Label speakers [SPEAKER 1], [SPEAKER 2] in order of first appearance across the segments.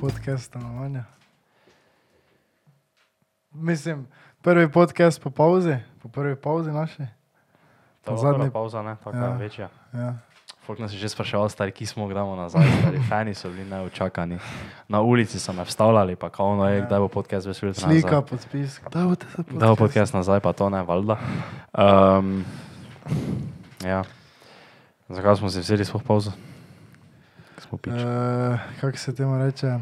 [SPEAKER 1] podcast stanovanja. Mislim, prvi podcast po pauzi, po prvi pauzi naši.
[SPEAKER 2] To je
[SPEAKER 1] Pa
[SPEAKER 2] bila
[SPEAKER 1] zadnji-
[SPEAKER 2] prva pauza, ne, taka
[SPEAKER 1] Ja.
[SPEAKER 2] ja. večja.
[SPEAKER 1] Ja.
[SPEAKER 2] Folk nas je že spraševal, stari, ki smo gremo nazaj, stari fani so bili neočakani. Na ulici so me vstavljali, pa kao ono je,
[SPEAKER 1] Ja.
[SPEAKER 2] kdaj bo podcast vesel.
[SPEAKER 1] Slika, podpis. Da, boste se
[SPEAKER 2] Da bo podcast nazaj, pa to ne, valjda. Um, ja. Zakaj smo si vzeli sploh pauzo? Ker Smo pič.
[SPEAKER 1] Eh, Kako se temu reče?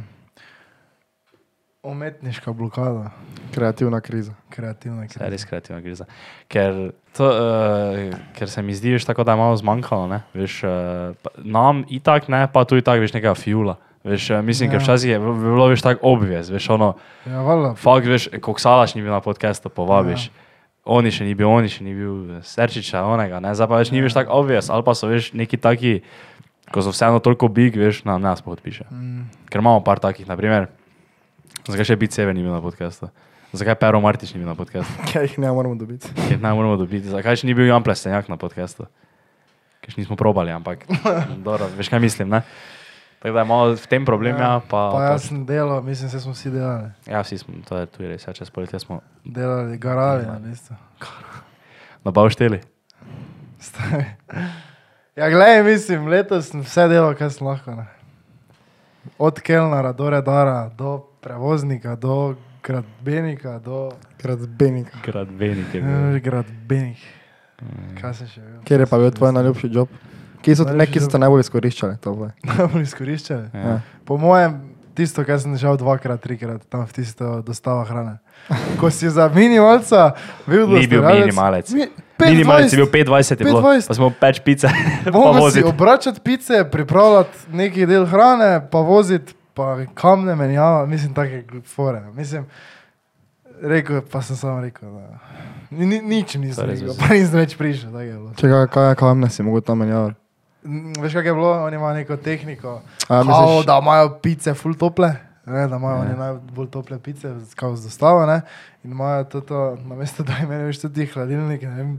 [SPEAKER 1] Umetniška blokada,
[SPEAKER 3] Kreativna kriza.
[SPEAKER 1] kreativna
[SPEAKER 2] Saj Res
[SPEAKER 1] kriza.
[SPEAKER 2] kreativna griza. Ker, to, uh, ker se mi zdi, veš, tako, da je malo zmanjkalo. ne, Veš, uh, nam itak ne, pa tu itak veš nekega fjula. Veš, eh, mislim, ja.
[SPEAKER 1] Ja.
[SPEAKER 2] ker včasih je bi- bi bilo veš tako obvez, veš ono,
[SPEAKER 1] Ja, valjda.
[SPEAKER 2] fakt veš, koksalaš ni bil na podkastu, povabiš. Ja. Oni še ni bil, oni še ni bil, eh, serčiča onega, ne, zdaj pa več ni več tako obvez, ali pa so veš neki taki, ko so vseeno toliko big, veš, nam nas podpiše.
[SPEAKER 1] Mm,
[SPEAKER 2] Ker imamo par takih, naprimer, zakaj še biti severni bil na podkastu, zakaj Pero Martič ni bil na podkastu.
[SPEAKER 3] Kaj Ja, jih ne moramo dobiti.
[SPEAKER 2] Ker ne moramo dobiti. Zakaj še ni bil Jan Plesenjak na podkastu? Ker še nismo probali, ampak dobro, veš kaj mislim. Ne? Tako da je malo v tem problem, ja, pa,
[SPEAKER 1] pa jaz sem delal, mislim, se smo vsi delali.
[SPEAKER 2] ja, vsi smo, to je tudi res, ja, čez poletje smo
[SPEAKER 1] Delali, garali na listu.
[SPEAKER 2] nabavšteli.
[SPEAKER 1] Stari. Ja, gledaj, mislim, letos sem vse delal, kar sem lahko. Ne. Od Kelnara do Redara, do prevoznika, do gradbenika, do
[SPEAKER 3] Gradbenik.
[SPEAKER 2] Gradbenik je bil. Mm,
[SPEAKER 1] Eh, gradbenik. Kaj se še ve?
[SPEAKER 3] Kjer je pa bil tvoj najljubši job? Kje so, ne,
[SPEAKER 1] Najljubši
[SPEAKER 3] kje so te
[SPEAKER 1] job?
[SPEAKER 3] najbolj izkoriščali? To boj.
[SPEAKER 1] najbolj izkoriščali?
[SPEAKER 2] Ja.
[SPEAKER 1] Po mojem, tisto, kar sem šel dvakrat, trikrat, tam v tisto dostavo hrane. Ko si za minimalca bil
[SPEAKER 2] Ni bil
[SPEAKER 1] dostavljalec-
[SPEAKER 2] minimalec.
[SPEAKER 1] Mi-
[SPEAKER 2] Minimalec
[SPEAKER 1] 25.
[SPEAKER 2] je bil 25, je bilo,
[SPEAKER 1] 25.
[SPEAKER 2] pa smo peč pice, pa
[SPEAKER 1] Mogo si
[SPEAKER 2] voziti.
[SPEAKER 1] obračati pice, pripravljati neki del hrane, pa voziti, pa kamne menjava, mislim, take gl- fore. no. Mislim, rekel, pa sem samo rekel, da ni, ni, nič nisem
[SPEAKER 2] To je res
[SPEAKER 1] rekel,
[SPEAKER 2] brez-
[SPEAKER 1] pa nisem več prišel. tako je bilo.
[SPEAKER 3] Če ga kaj, kaj vam ne si mogel tam menjavati?
[SPEAKER 1] N- Veš, kak je bilo, oni imajo neko tehniko,
[SPEAKER 3] A,
[SPEAKER 1] kao,
[SPEAKER 3] misliš,
[SPEAKER 1] da imajo pice full tople. Ne, da imajo
[SPEAKER 2] Ja.
[SPEAKER 1] oni najbolj tople pice, kot z dostavo. Ne? In imajo to, na mesto, da imajo več tudi hladilnik. ne vem,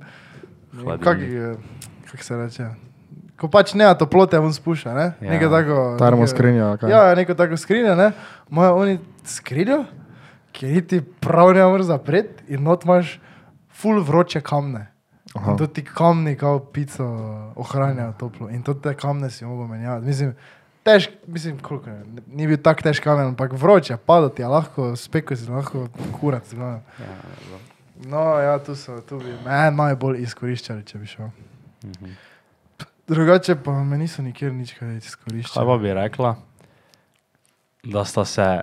[SPEAKER 1] ne vem, Kako
[SPEAKER 2] Hladilnik.
[SPEAKER 1] je- kako se reče? Ko pač ne, toplote on spušča. Ne?
[SPEAKER 2] Ja.
[SPEAKER 1] Nekaj tako.
[SPEAKER 3] Tarmo
[SPEAKER 1] neke-
[SPEAKER 3] skrinja. kaj?
[SPEAKER 1] Ja, neko tako skrinjo. ne. Imajo oni skrinjo, ki ji ti prav ne moreš zapreti, in not imaš full vroče kamne.
[SPEAKER 3] Aha.
[SPEAKER 1] In to ti kamni, kot pico, ohranjajo toplo. In to te kamne si mogo menjavati. Mislim, težk, mislim koliko je, ne- ni bil tako težk kamen, ampak vroče, padati je lahko, speko si lahko, kurat. zglavnem.
[SPEAKER 2] Ja,
[SPEAKER 1] No, ja, tu so, tu bi me najbolj izkoriščali, če bi šel.
[SPEAKER 2] Mhm.
[SPEAKER 1] Drugače pa me niso nikjer nič kaj
[SPEAKER 2] Kaj pa
[SPEAKER 1] izkoriščali.
[SPEAKER 2] bi rekla, da sta se,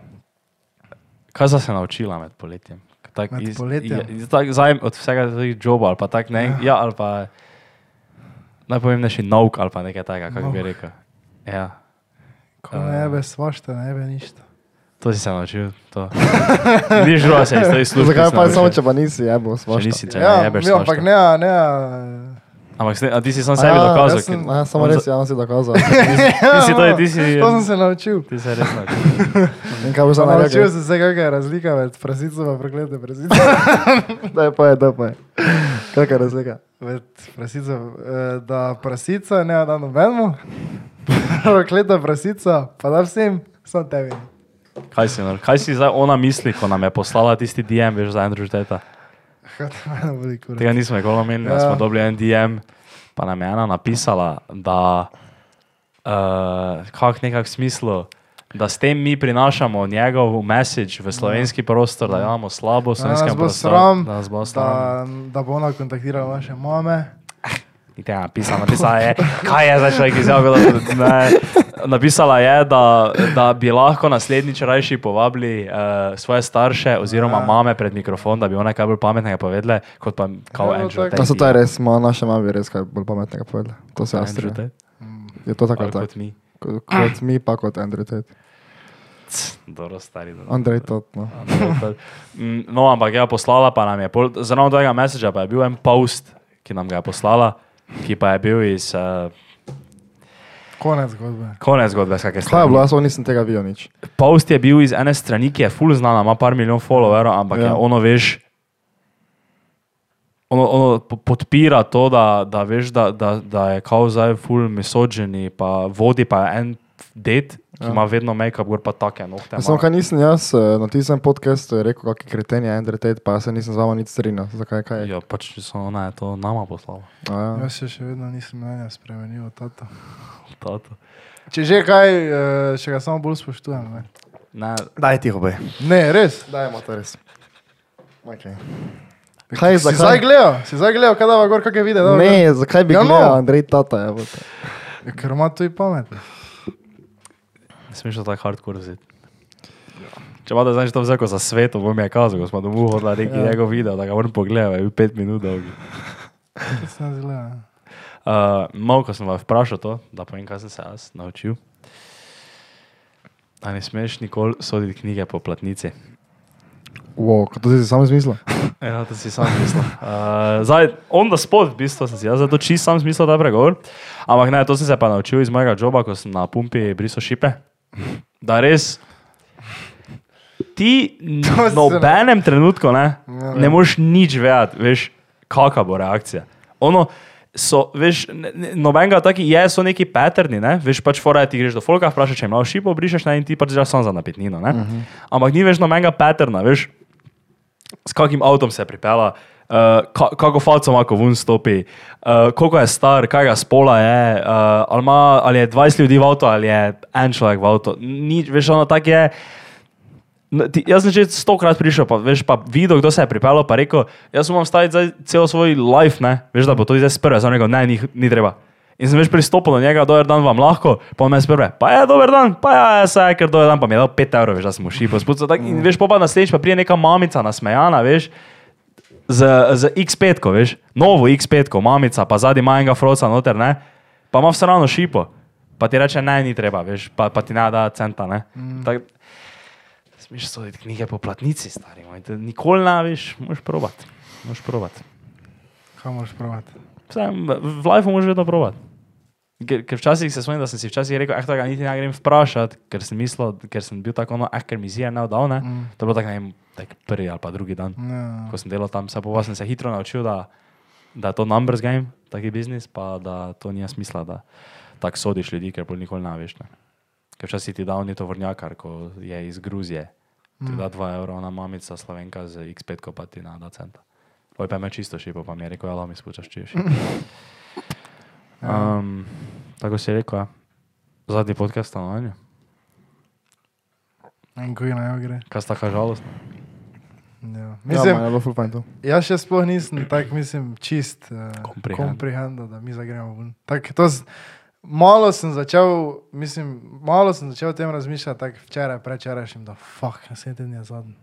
[SPEAKER 2] kaj sta se naučila med poletjem? Tak,
[SPEAKER 1] Med poletjem?
[SPEAKER 2] je- je tak, zajem, od vsega tega joba ali pa tak ne, ja, ali pa najpomembnejši nauk ali pa nekaj takega, kako bi
[SPEAKER 1] Nauk.
[SPEAKER 2] rekel. Ja,
[SPEAKER 1] Ko
[SPEAKER 2] eh,
[SPEAKER 1] ne jebe svašta, ne jebe ništa.
[SPEAKER 2] to si se naučil, to. Ni žro se iz tega službe.
[SPEAKER 3] Zakaj pa samo, če pa nisi, jebo,
[SPEAKER 2] Če
[SPEAKER 3] svašta.
[SPEAKER 2] nisi, če ja, ne jebeš,
[SPEAKER 1] mi, ampak
[SPEAKER 2] svašta.
[SPEAKER 1] ne, ne.
[SPEAKER 2] Ampak ste- a ti si sam sebi
[SPEAKER 3] A,
[SPEAKER 2] dokazal,
[SPEAKER 1] jaz sem-
[SPEAKER 2] ker-
[SPEAKER 3] Ja, samo
[SPEAKER 2] on
[SPEAKER 3] res,
[SPEAKER 2] za-
[SPEAKER 3] ja, on si dokazal.
[SPEAKER 2] Ti si to, ti si,
[SPEAKER 1] To sem se naučil.
[SPEAKER 2] ti si res naučil.
[SPEAKER 3] In kaj boš zdaj
[SPEAKER 1] Naučil
[SPEAKER 3] rekel?
[SPEAKER 1] sem se, kakšna je razlika med prasico in prekleto prasico.
[SPEAKER 3] Daj pa je, daj pa je. Kakšna razlika?
[SPEAKER 1] Med prasico, eh, da prasica ne da nobenemu, prekleta prasica pa da vsem, samo tebi.
[SPEAKER 2] Kaj si, nor- kaj si zdaj ona misli, ko nam je poslala tisti DM, veš, za Andrew Ždeta?
[SPEAKER 1] Kaj te mene boli, kurat.
[SPEAKER 2] Tega nismo nikoli omenili, ja.
[SPEAKER 1] Ja.
[SPEAKER 2] smo dobili en DM, pa nam je ena napisala, da uh, kak nekak smislu, da s tem mi prinašamo njegov message v slovenski prostor, da imamo slabo
[SPEAKER 1] Da nas
[SPEAKER 2] slovensko
[SPEAKER 1] bo
[SPEAKER 2] prostor.
[SPEAKER 1] sram,
[SPEAKER 2] da nas bo sram.
[SPEAKER 1] da, da bo ona kontaktirala naše mame.
[SPEAKER 2] Ni tega napisala, napisala je, kaj je za človek izjavil. Napisala je, da, da bi lahko naslednjič rajši povabili uh, svoje starše oziroma
[SPEAKER 1] Ja.
[SPEAKER 2] mame pred mikrofon, da bi one kaj bolj pametnega povedale, kot pa kao
[SPEAKER 1] Ja, no,
[SPEAKER 2] Andrew.
[SPEAKER 1] tako.
[SPEAKER 3] Da
[SPEAKER 2] Tate.
[SPEAKER 3] so to res, ma naše mami res kaj bolj pametnega povedali. To se jaz
[SPEAKER 2] Andrew
[SPEAKER 3] strinjam.
[SPEAKER 2] Tate.
[SPEAKER 1] Mm,
[SPEAKER 3] Je to tako,
[SPEAKER 2] Ali
[SPEAKER 3] tako.
[SPEAKER 2] kot mi.
[SPEAKER 3] Kot, kot mi, pa kot Andrej Tate.
[SPEAKER 2] Cs, Dobro, stari. dobro.
[SPEAKER 3] Andrej Tate, no.
[SPEAKER 2] Andrej Tate. Mm, No, ampak ja, poslala pa nam je, pol- zraven tega messagea pa je bil en post, ki nam ga je poslala, ki pa je bil iz uh,
[SPEAKER 1] Konec zgodbe.
[SPEAKER 2] konec zgodbe, s kakšne
[SPEAKER 3] Kaj je bilo,
[SPEAKER 2] strani.
[SPEAKER 3] jaz on nisem tega videl nič.
[SPEAKER 2] Post je bil iz ene strani, ki je full znana, ima par milijon followerov, ampak ja.
[SPEAKER 3] Ja.
[SPEAKER 2] je ono, veš, ono, ono po- podpira to, da, da veš, da, da, da je kao zdaj full misoženi, pa vodi pa en det, ki
[SPEAKER 3] Ja.
[SPEAKER 2] ima vedno make-up, gor pa take nohte.
[SPEAKER 3] Samo
[SPEAKER 2] ima.
[SPEAKER 3] kaj nisem jaz eh, na tistem podkastu rekel, kakšen kreten je Andrej Tate, pa jaz se nisem z vama nič strinjal. Zakaj kaj je?
[SPEAKER 2] Ja, pač so ona je to nama poslala.
[SPEAKER 3] A ja.
[SPEAKER 1] Jaz se še vedno nisem mnenja spremenil, tata.
[SPEAKER 2] Tato.
[SPEAKER 1] Če že kaj, eh, še ga samo bolj spoštujem. Ne,
[SPEAKER 2] Ne,
[SPEAKER 3] Daj tiho, bej.
[SPEAKER 1] ne res.
[SPEAKER 3] Dajmo to res. Okay. Kaj,
[SPEAKER 1] Si zdaj
[SPEAKER 3] zakaj?
[SPEAKER 1] gledal, si zdaj gledal, kaj dava gor, kakšne vide. dava gor?
[SPEAKER 3] Ne, zakaj bi
[SPEAKER 1] Ja,
[SPEAKER 3] ja,
[SPEAKER 1] no.
[SPEAKER 3] gledal Andrej Tata? Je, bote.
[SPEAKER 1] Ja, Ker ima tu i pamet.
[SPEAKER 2] ne smeš to tako hardcore vzeti. Če pa da znaš to vzeko za svet, bom je kazal, ko smo domov hodili, rekel je njegov video, da ga moram pogledati, je bil pet minut dolg.
[SPEAKER 1] To se ne zgleda, ne.
[SPEAKER 2] Uh, Malo, ko sem vas vprašal to, da povem, kaj sem se jaz naučil. A ne smeš nikoli soditi knjige po platnici.
[SPEAKER 3] Wow, kot to si si sam izmislil.
[SPEAKER 2] Ja, to si sam mislil. Uh, zdaj, on the spot, v bistvu sem si jaz zato čist sam mislil, da je pregovor. Ampak ne, to sem se pa naučil iz mojega joba, ko sem na pumpi brisal šipe. Da res. Ti n-
[SPEAKER 1] To si
[SPEAKER 2] v nobenem trenutku ne,
[SPEAKER 1] Ja.
[SPEAKER 2] ne moreš nič vedeti, veš, kakšna bo reakcija. Ono, So, veš, ne- ne- nobenega taki je, so neki paterni, ne? veš pač fora je, ti greš do folka, vprašaš, če imaš šipo, brišeš ne in ti pač že sam za napitnino. Uh -huh. Ampak ni več nobenega paterna, veš, s kakim avtom se je pripeljala, uh, ka, kako falco ima, ko vun stopi, uh, koliko je star, kaj ga spola je, uh, ali, ima, ali je 20 ljudi v avtu, ali je en človek v avtu. Ni, veš, ono tak je. No, ti, jaz sem že stokrat prišel, pa, veš, pa videl, kdo se je pripeljal, pa rekel, jaz moram staviti zdaj celo svoj life, ne? veš, da bo to zdaj sprve, zdaj rekel, ne, ni, ni treba. In sem veš pristopil do njega, dober dan vam lahko, pa on me sprve, pa je dober dan, pa ja, ja, saj, ker dober dan, pa mi je dal 5 evrov, veš, da smo šli, pospucal tak, in veš, pol pa naslednjič pa prije neka mamica nasmejana, veš, z, z X5, ko, veš, novo X5, ko, mamica, pa zadnji manjega froca noter, ne? pa ima vse ravno šipo, pa ti reče, ne, ni treba, veš, pa, pa ti ne da centa. Ne? Mm. Tak, smeš soditi knjige po platnici, stari moj, to nikoli ne veš, moš provat, moš provat.
[SPEAKER 1] Kaj moraš pravati?
[SPEAKER 2] Vse, v lifeu moš vedno provat. Ker, ker včasih se spomnim, da sem si včasih rekel, eh, tega niti ne grem vprašati, ker sem mislil, ker sem bil tako, no, eh, ker mi zije ne oddal, ne. Mm. To je bilo tako, ne vem, tak prvi ali pa drugi dan
[SPEAKER 1] Ja.
[SPEAKER 2] ko sem delal tam, se pa sem se hitro naučil, da, da je to numbers game, taki biznis, pa da to nima smisla, da tako sodiš ljudi, ker bolj nikoli ne veš. Ne. Ker včasih ti da on je tovornjakar, ko je iz Gruzije, ti da 2 evra, ona mamica slovenka z X5, ko pa ti na 2 centa. Oj, pa me čisto šipo, pa mi je rekel, ja, mi spuščaš češ.
[SPEAKER 1] ja.
[SPEAKER 2] Um, tako si rekel, ja. zadnji podcast no, stanovanja.
[SPEAKER 1] In kuj naj gre.
[SPEAKER 2] Kaj sta tako žalostno?
[SPEAKER 1] Ja.
[SPEAKER 3] Mislim,
[SPEAKER 1] Mislim,
[SPEAKER 3] ja, je bilo ful fajn to.
[SPEAKER 1] Jaz še sploh nisem tako, mislim, čist
[SPEAKER 2] Comprehend.
[SPEAKER 1] komprehendo, da mi zagremo ven. Tak, to z- Malo sem začel, mislim, malo sem začel o tem razmišljati, tako včeraj, prečerajšnjim, da fuck, naslednji teden je zadnji.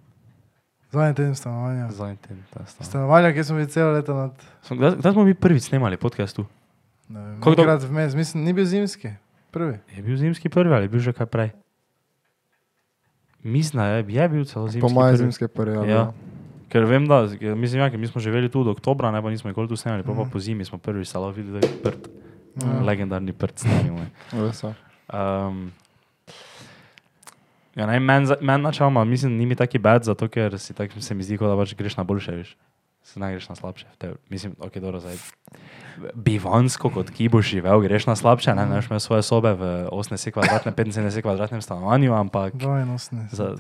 [SPEAKER 1] Zadnji teden stanovanja.
[SPEAKER 2] Zadnji teden, ta stanovanja.
[SPEAKER 1] Stanovanja, ki smo bili celo leto nad,
[SPEAKER 2] Kdaj, kdaj smo mi prvič snemali podcast tu?
[SPEAKER 1] ne vem,
[SPEAKER 2] Kako dolgo-
[SPEAKER 1] nekrat vmes, mislim, ni bil zimski, prvi.
[SPEAKER 2] Je bil zimski prvi ali je bil že kaj prej? Mislim, da je, je bil celo zimski.
[SPEAKER 3] Po moje
[SPEAKER 2] prvi.
[SPEAKER 3] zimske prve.
[SPEAKER 2] Ja.
[SPEAKER 3] Ja. bilo.
[SPEAKER 2] Ker vem, da ker mislim, ja, ker mi smo živeli tu do oktobra, ne pa nismo nikoli tu snemali, pa, pa
[SPEAKER 3] Mhm.
[SPEAKER 2] po zimi smo prvi salo videli, da je prt.
[SPEAKER 3] Ja.
[SPEAKER 1] Ja.
[SPEAKER 2] Mm. Legendarni prt snemimo.
[SPEAKER 3] Res ja. je.
[SPEAKER 2] Um, ja, ne, meni za- meni načeloma, mislim, ni mi taki bed, zato ker si tak, se mi zdi, kot da pač greš na boljše, veš. Se ne greš na slabše. v teoriji. Mislim, ok, dobro, zdaj. Bivansko, kot ki boš živel, greš na slabše, ne, ne veš, imaš svoje sobe v 80 kvadratnem, 75 kvadratnem stanovanju, ampak
[SPEAKER 1] 82.
[SPEAKER 2] za,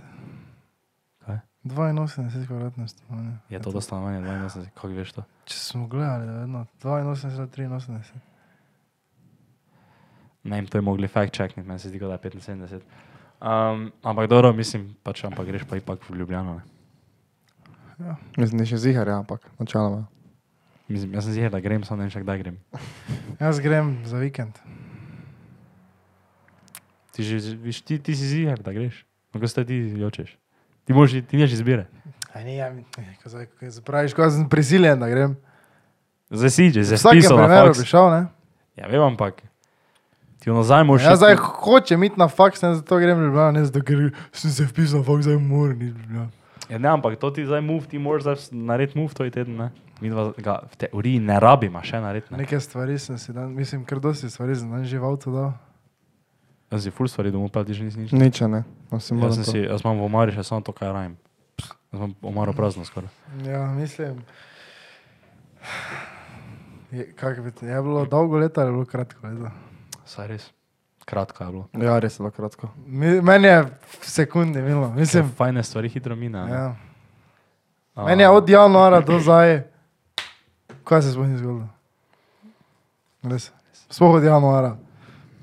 [SPEAKER 1] 82 kvadratne stanovanja.
[SPEAKER 2] je to do stanovanja 82, kako veš to?
[SPEAKER 1] Če smo gledali, da je vedno 82, 83.
[SPEAKER 2] Ne vem, to je mogli fact checkniti, meni se zdi, kot da je 75. Um, ampak dobro, mislim, pač, ampak greš pa ipak v Ljubljano. Ne.
[SPEAKER 3] Mislim, ni še zihar, ja, ampak načeloma.
[SPEAKER 2] Mislim, jaz sem zir, da grem, samo ne vem še kdaj grem.
[SPEAKER 1] Jaz grem za vikend.
[SPEAKER 2] Ti, že, že- viš, ti, ti si ziger, da greš. Kako se ti jočeš? Ti, moraš, iti- ti nimaš izbire.
[SPEAKER 1] Aj, ne, ja, mi- ne, ko zdaj- ko Zapraviš, ko jaz sem prisiljen, da grem.
[SPEAKER 2] Zdaj si, če
[SPEAKER 1] V
[SPEAKER 2] se
[SPEAKER 1] vsakem
[SPEAKER 2] spisal na
[SPEAKER 1] primeru bi
[SPEAKER 2] faks.
[SPEAKER 1] šel, ne?
[SPEAKER 2] Ja, vem, ampak ti v nazaj moraš.
[SPEAKER 1] Jaz Ja, zdaj
[SPEAKER 2] iti-
[SPEAKER 1] hočem iti na faks, ne zato grem v Ljubljano, ne zato ker sem se vpisal na faks, zdaj moram iti v Ljubljano.
[SPEAKER 2] Ja, ne, ampak to ti zdaj move, ti moraš zdaj s- narediti move to teden. Ne? Mi dva ga v teoriji ne rabimo še narediti. Ne?
[SPEAKER 1] Neke stvari sem si dan, mislim, ker dosti stvari sem dan že v avtu dal.
[SPEAKER 2] Jaz si ful stvari domov, pa ti že nisi nič.
[SPEAKER 3] Nič, a ne. Mislim,
[SPEAKER 2] Jaz, Ja, sem si, jaz imam v omari še samo to, kar rajem. Jaz imam omaro prazno skoraj.
[SPEAKER 1] Ja, mislim. Je, kak bi, te- je bilo dolgo leta ali je bilo kratko leta?
[SPEAKER 2] Saj res. Kaj Kratko je bilo.
[SPEAKER 3] Ja, res je bilo kratko.
[SPEAKER 1] Mi, meni je v sekundi milo. Mislim,
[SPEAKER 2] Mislim, fajne stvari hitro mine. ne.
[SPEAKER 1] ja.
[SPEAKER 2] A,
[SPEAKER 1] Meni je od ja- januara do zdaj, kaj se sploh ni zgodilo. Res. Sploh od januara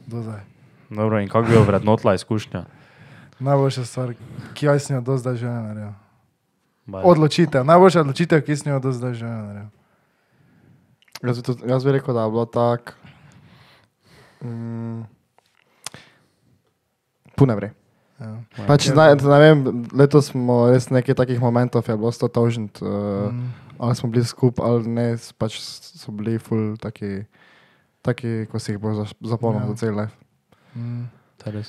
[SPEAKER 1] do zdaj.
[SPEAKER 2] Dobro, in kako bi jo vrednotila izkušnja?
[SPEAKER 1] Najboljša stvar, ki jo jaz nisem do zdaj že naredil.
[SPEAKER 2] Baj.
[SPEAKER 1] Odločitev, najboljša odločitev, ki sem jo do zdaj že naredil.
[SPEAKER 3] Jaz bi, tudi, jaz bi rekel, da je bilo tako. Mm, Pune vre.
[SPEAKER 1] Ja.
[SPEAKER 3] Pač, ne, ne vem, letos smo res nekaj takih momentov, je bilo 100 tožent, uh,
[SPEAKER 1] Mm.
[SPEAKER 3] ali smo bili skupaj, ali ne, s- pač so bili ful taki, taki ko si jih bo zaš- zapomnil
[SPEAKER 1] Ja.
[SPEAKER 3] za cel life.
[SPEAKER 1] Mm.
[SPEAKER 2] To je res.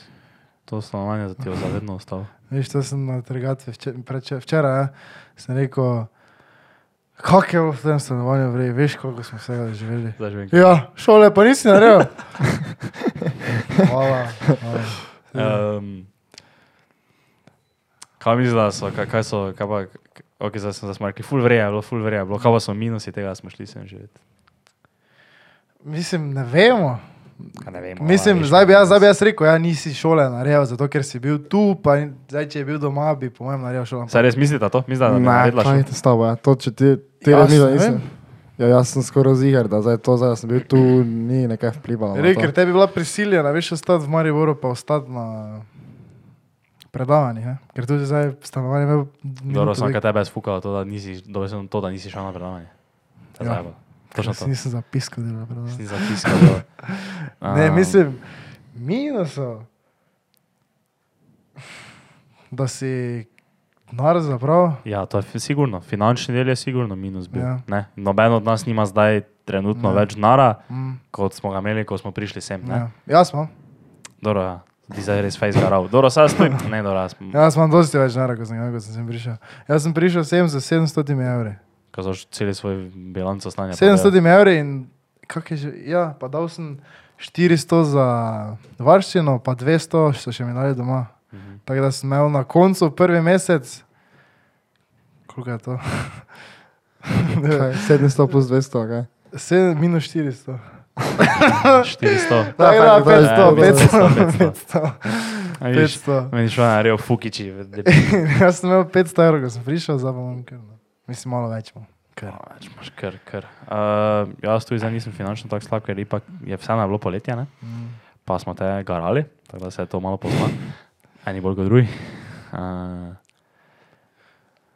[SPEAKER 2] To stanovanje za ti je zavedno ostalo.
[SPEAKER 1] Veš, to sem na trgatvi včeraj, včeraj ja, sem rekel, kako je bilo v tem stanovanju, vrej, veš, koliko smo vsega živeli.
[SPEAKER 2] Zdaj že vem.
[SPEAKER 1] Ja, šole pa nisi naredil. Hvala. hvala.
[SPEAKER 2] Um, kaj misliš, da so, kaj, kaj so, kaj pa, ok, zdaj sem zasmarkal, ful vreja je bilo, ful vreja je bilo, kaj pa so minusi tega, da smo šli sem živeti.
[SPEAKER 1] Mislim, ne vemo.
[SPEAKER 2] Kaj ne vemo.
[SPEAKER 1] Mislim, zdaj bi, jaz, zdaj bi jaz rekel, ja, nisi šole naredil, zato ker si bil tu, pa in- zdaj, če je bil doma, bi po mojem naredil šolo.
[SPEAKER 2] Saj res mislite to? Mislite, da bi naredila
[SPEAKER 3] kaj
[SPEAKER 2] šlo?
[SPEAKER 3] je to s tabo, ja. to, če ti, ti
[SPEAKER 1] Jaz
[SPEAKER 3] res nisem.
[SPEAKER 1] ne
[SPEAKER 3] nisem-
[SPEAKER 1] vem.
[SPEAKER 3] Ja, jaz sem skoraj ziger, da zdaj to, zdaj, da sem bil tu, ni nekaj vplivalo. na to.
[SPEAKER 1] Rekel, tebi je bila prisiljena, veš, ostati v Mariboru, pa ostati na predavanjih, ne? ker tudi zdaj stanovanje me...
[SPEAKER 2] Dobro, sem kaj tebe sfukal, to, da nisi, dobro sem to, da nisi šel na predavanje. To je
[SPEAKER 1] Ja.
[SPEAKER 2] zajebalo. Točno to.
[SPEAKER 1] Nisem zapiskal, da je bilo predavanje.
[SPEAKER 2] Nisi zapiskal. dobro.
[SPEAKER 1] Ne,
[SPEAKER 2] Am,
[SPEAKER 1] mislim, minusov. Da si nar zaprav.
[SPEAKER 2] Ja, to je fi- sigurno. Finančni del je sigurno minus bil.
[SPEAKER 1] Ja.
[SPEAKER 2] Ja. Noben od nas nima zdaj trenutno
[SPEAKER 1] Ne.
[SPEAKER 2] ja. več denara,
[SPEAKER 1] Mm,
[SPEAKER 2] kot smo ga imeli, ko smo prišli sem. Ja.
[SPEAKER 1] ja. Jaz imam.
[SPEAKER 2] Dobro, ja. ti zdaj res fejs garav. Dobro, sad stojim. Ne, dobro, jaz sem. Ja.
[SPEAKER 1] Jaz imam dosti več denarja, kot sem, ga- kot sem sem prišel. Jaz sem prišel sem za 700 evri.
[SPEAKER 2] Kazaš celi svoj bilanco stanja.
[SPEAKER 1] 700 evri in kak je že, ja, pa dal sem 400 za varščino, pa 200 so še mi dali doma.
[SPEAKER 2] Mhm.
[SPEAKER 1] Tako da sem imel na koncu prvi mesec, koliko je to? Ne vem,
[SPEAKER 3] Kaj, 700 plus 200, kaj?
[SPEAKER 1] sedem- minus 400.
[SPEAKER 2] 400.
[SPEAKER 1] Tako
[SPEAKER 3] Ja,
[SPEAKER 1] da
[SPEAKER 3] pa je
[SPEAKER 1] 500,
[SPEAKER 2] 500,
[SPEAKER 1] 500, 500.
[SPEAKER 2] A vidiš,
[SPEAKER 1] 500.
[SPEAKER 2] Meni šlo na rejo fukiči.
[SPEAKER 1] Jaz sem imel 500 evrov, ko sem prišel, zdaj pa imam kar. no. Mislim, malo več. imam. Kar.
[SPEAKER 2] Maš kar, kar. Uh, jaz tu zdaj nisem finančno tako slab, ker ipak je vseeno bilo poletje, ne?
[SPEAKER 1] Mm.
[SPEAKER 2] pa smo te garali, tako da se je to malo pozna. Eni bolj kot drugi. Uh,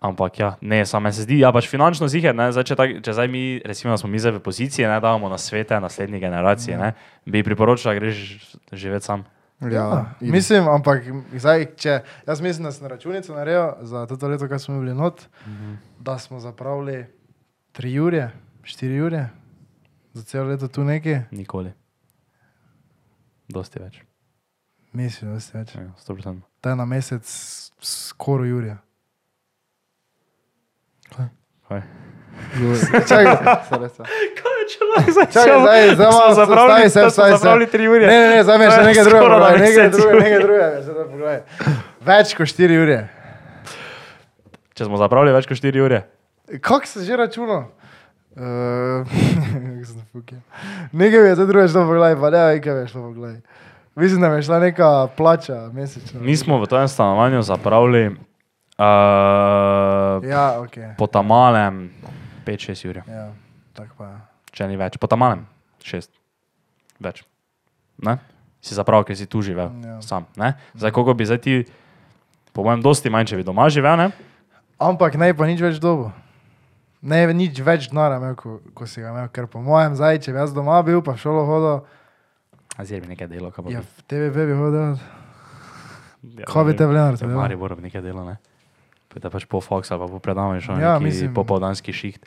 [SPEAKER 2] ampak ja, ne, samo meni se zdi, ja pač finančno ziger, ne, zdaj, če, tak, če zdaj mi, recimo, da smo mi zdaj v poziciji, ne, davamo na svete naslednje generacije, ne, bi priporočila, da greš živeti sam.
[SPEAKER 1] Ja,
[SPEAKER 3] Ja, idi.
[SPEAKER 1] mislim, ampak zdaj, če, jaz mislim, da sem računico naredil za to leto, kar smo bili not, da smo zapravili 3 ure, 4 ure, za celo leto tu nekaj,
[SPEAKER 2] Nikoli. Dosti več.
[SPEAKER 1] mislim, da se več.
[SPEAKER 2] Ja, 100%.
[SPEAKER 1] To je na mesec skoraj ure.
[SPEAKER 2] Kaj?
[SPEAKER 1] Čakaj,
[SPEAKER 3] Se res je.
[SPEAKER 1] čakaj, zdaj, zdaj malo zapravili, zdaj se zapravili.
[SPEAKER 2] tri
[SPEAKER 1] Ne, ne, ne, zdaj me še
[SPEAKER 2] To je
[SPEAKER 1] nekaj drugega,
[SPEAKER 2] skoraj na
[SPEAKER 1] pogledaj, nekaj
[SPEAKER 2] mesec
[SPEAKER 1] drugega,
[SPEAKER 2] ur.
[SPEAKER 1] nekaj drugega, me zdaj pogledaj. Več kot 4 ure.
[SPEAKER 2] Če smo zapravili več kot 4 ure,
[SPEAKER 1] Kako se že računa? Uh, nekaj je, to drugo je šlo po glavi, pa ne, nekaj je šlo po glavi. Mislim, da mi je šla neka plača mesečna.
[SPEAKER 2] mi smo v tem stanovanju zapravili uh,
[SPEAKER 1] Ja, ok.
[SPEAKER 2] po tamalem 5-6 ur,
[SPEAKER 1] Ja, tako pa. ja.
[SPEAKER 2] če ni več, po tamalem 6. Več. Ne? Si zapravil, ker si tu živel,
[SPEAKER 1] Ja.
[SPEAKER 2] ja. sam. Ne? Zdaj, koliko bi zdaj ti, po mojem, dosti manj, če bi doma živel, ne?
[SPEAKER 1] Ampak naj pa nič več dobo. Ne, nič več denarja imel, ko, ko si ga imel, ker po mojem zdaj, če bi jaz doma bil, pa v šolo hodil,
[SPEAKER 2] Azir bi nekaj delo, kaj bo.
[SPEAKER 1] je v TVB bi hodil.
[SPEAKER 2] Ja,
[SPEAKER 1] Ja. Kaj bi te vlenar?
[SPEAKER 2] Ja, Mari bo nekaj delo, ne? Pa Da pač po Fox ali pa po predavanju šel
[SPEAKER 1] Ja,
[SPEAKER 2] ja, neki
[SPEAKER 1] mislim-
[SPEAKER 2] popoldanski šiht.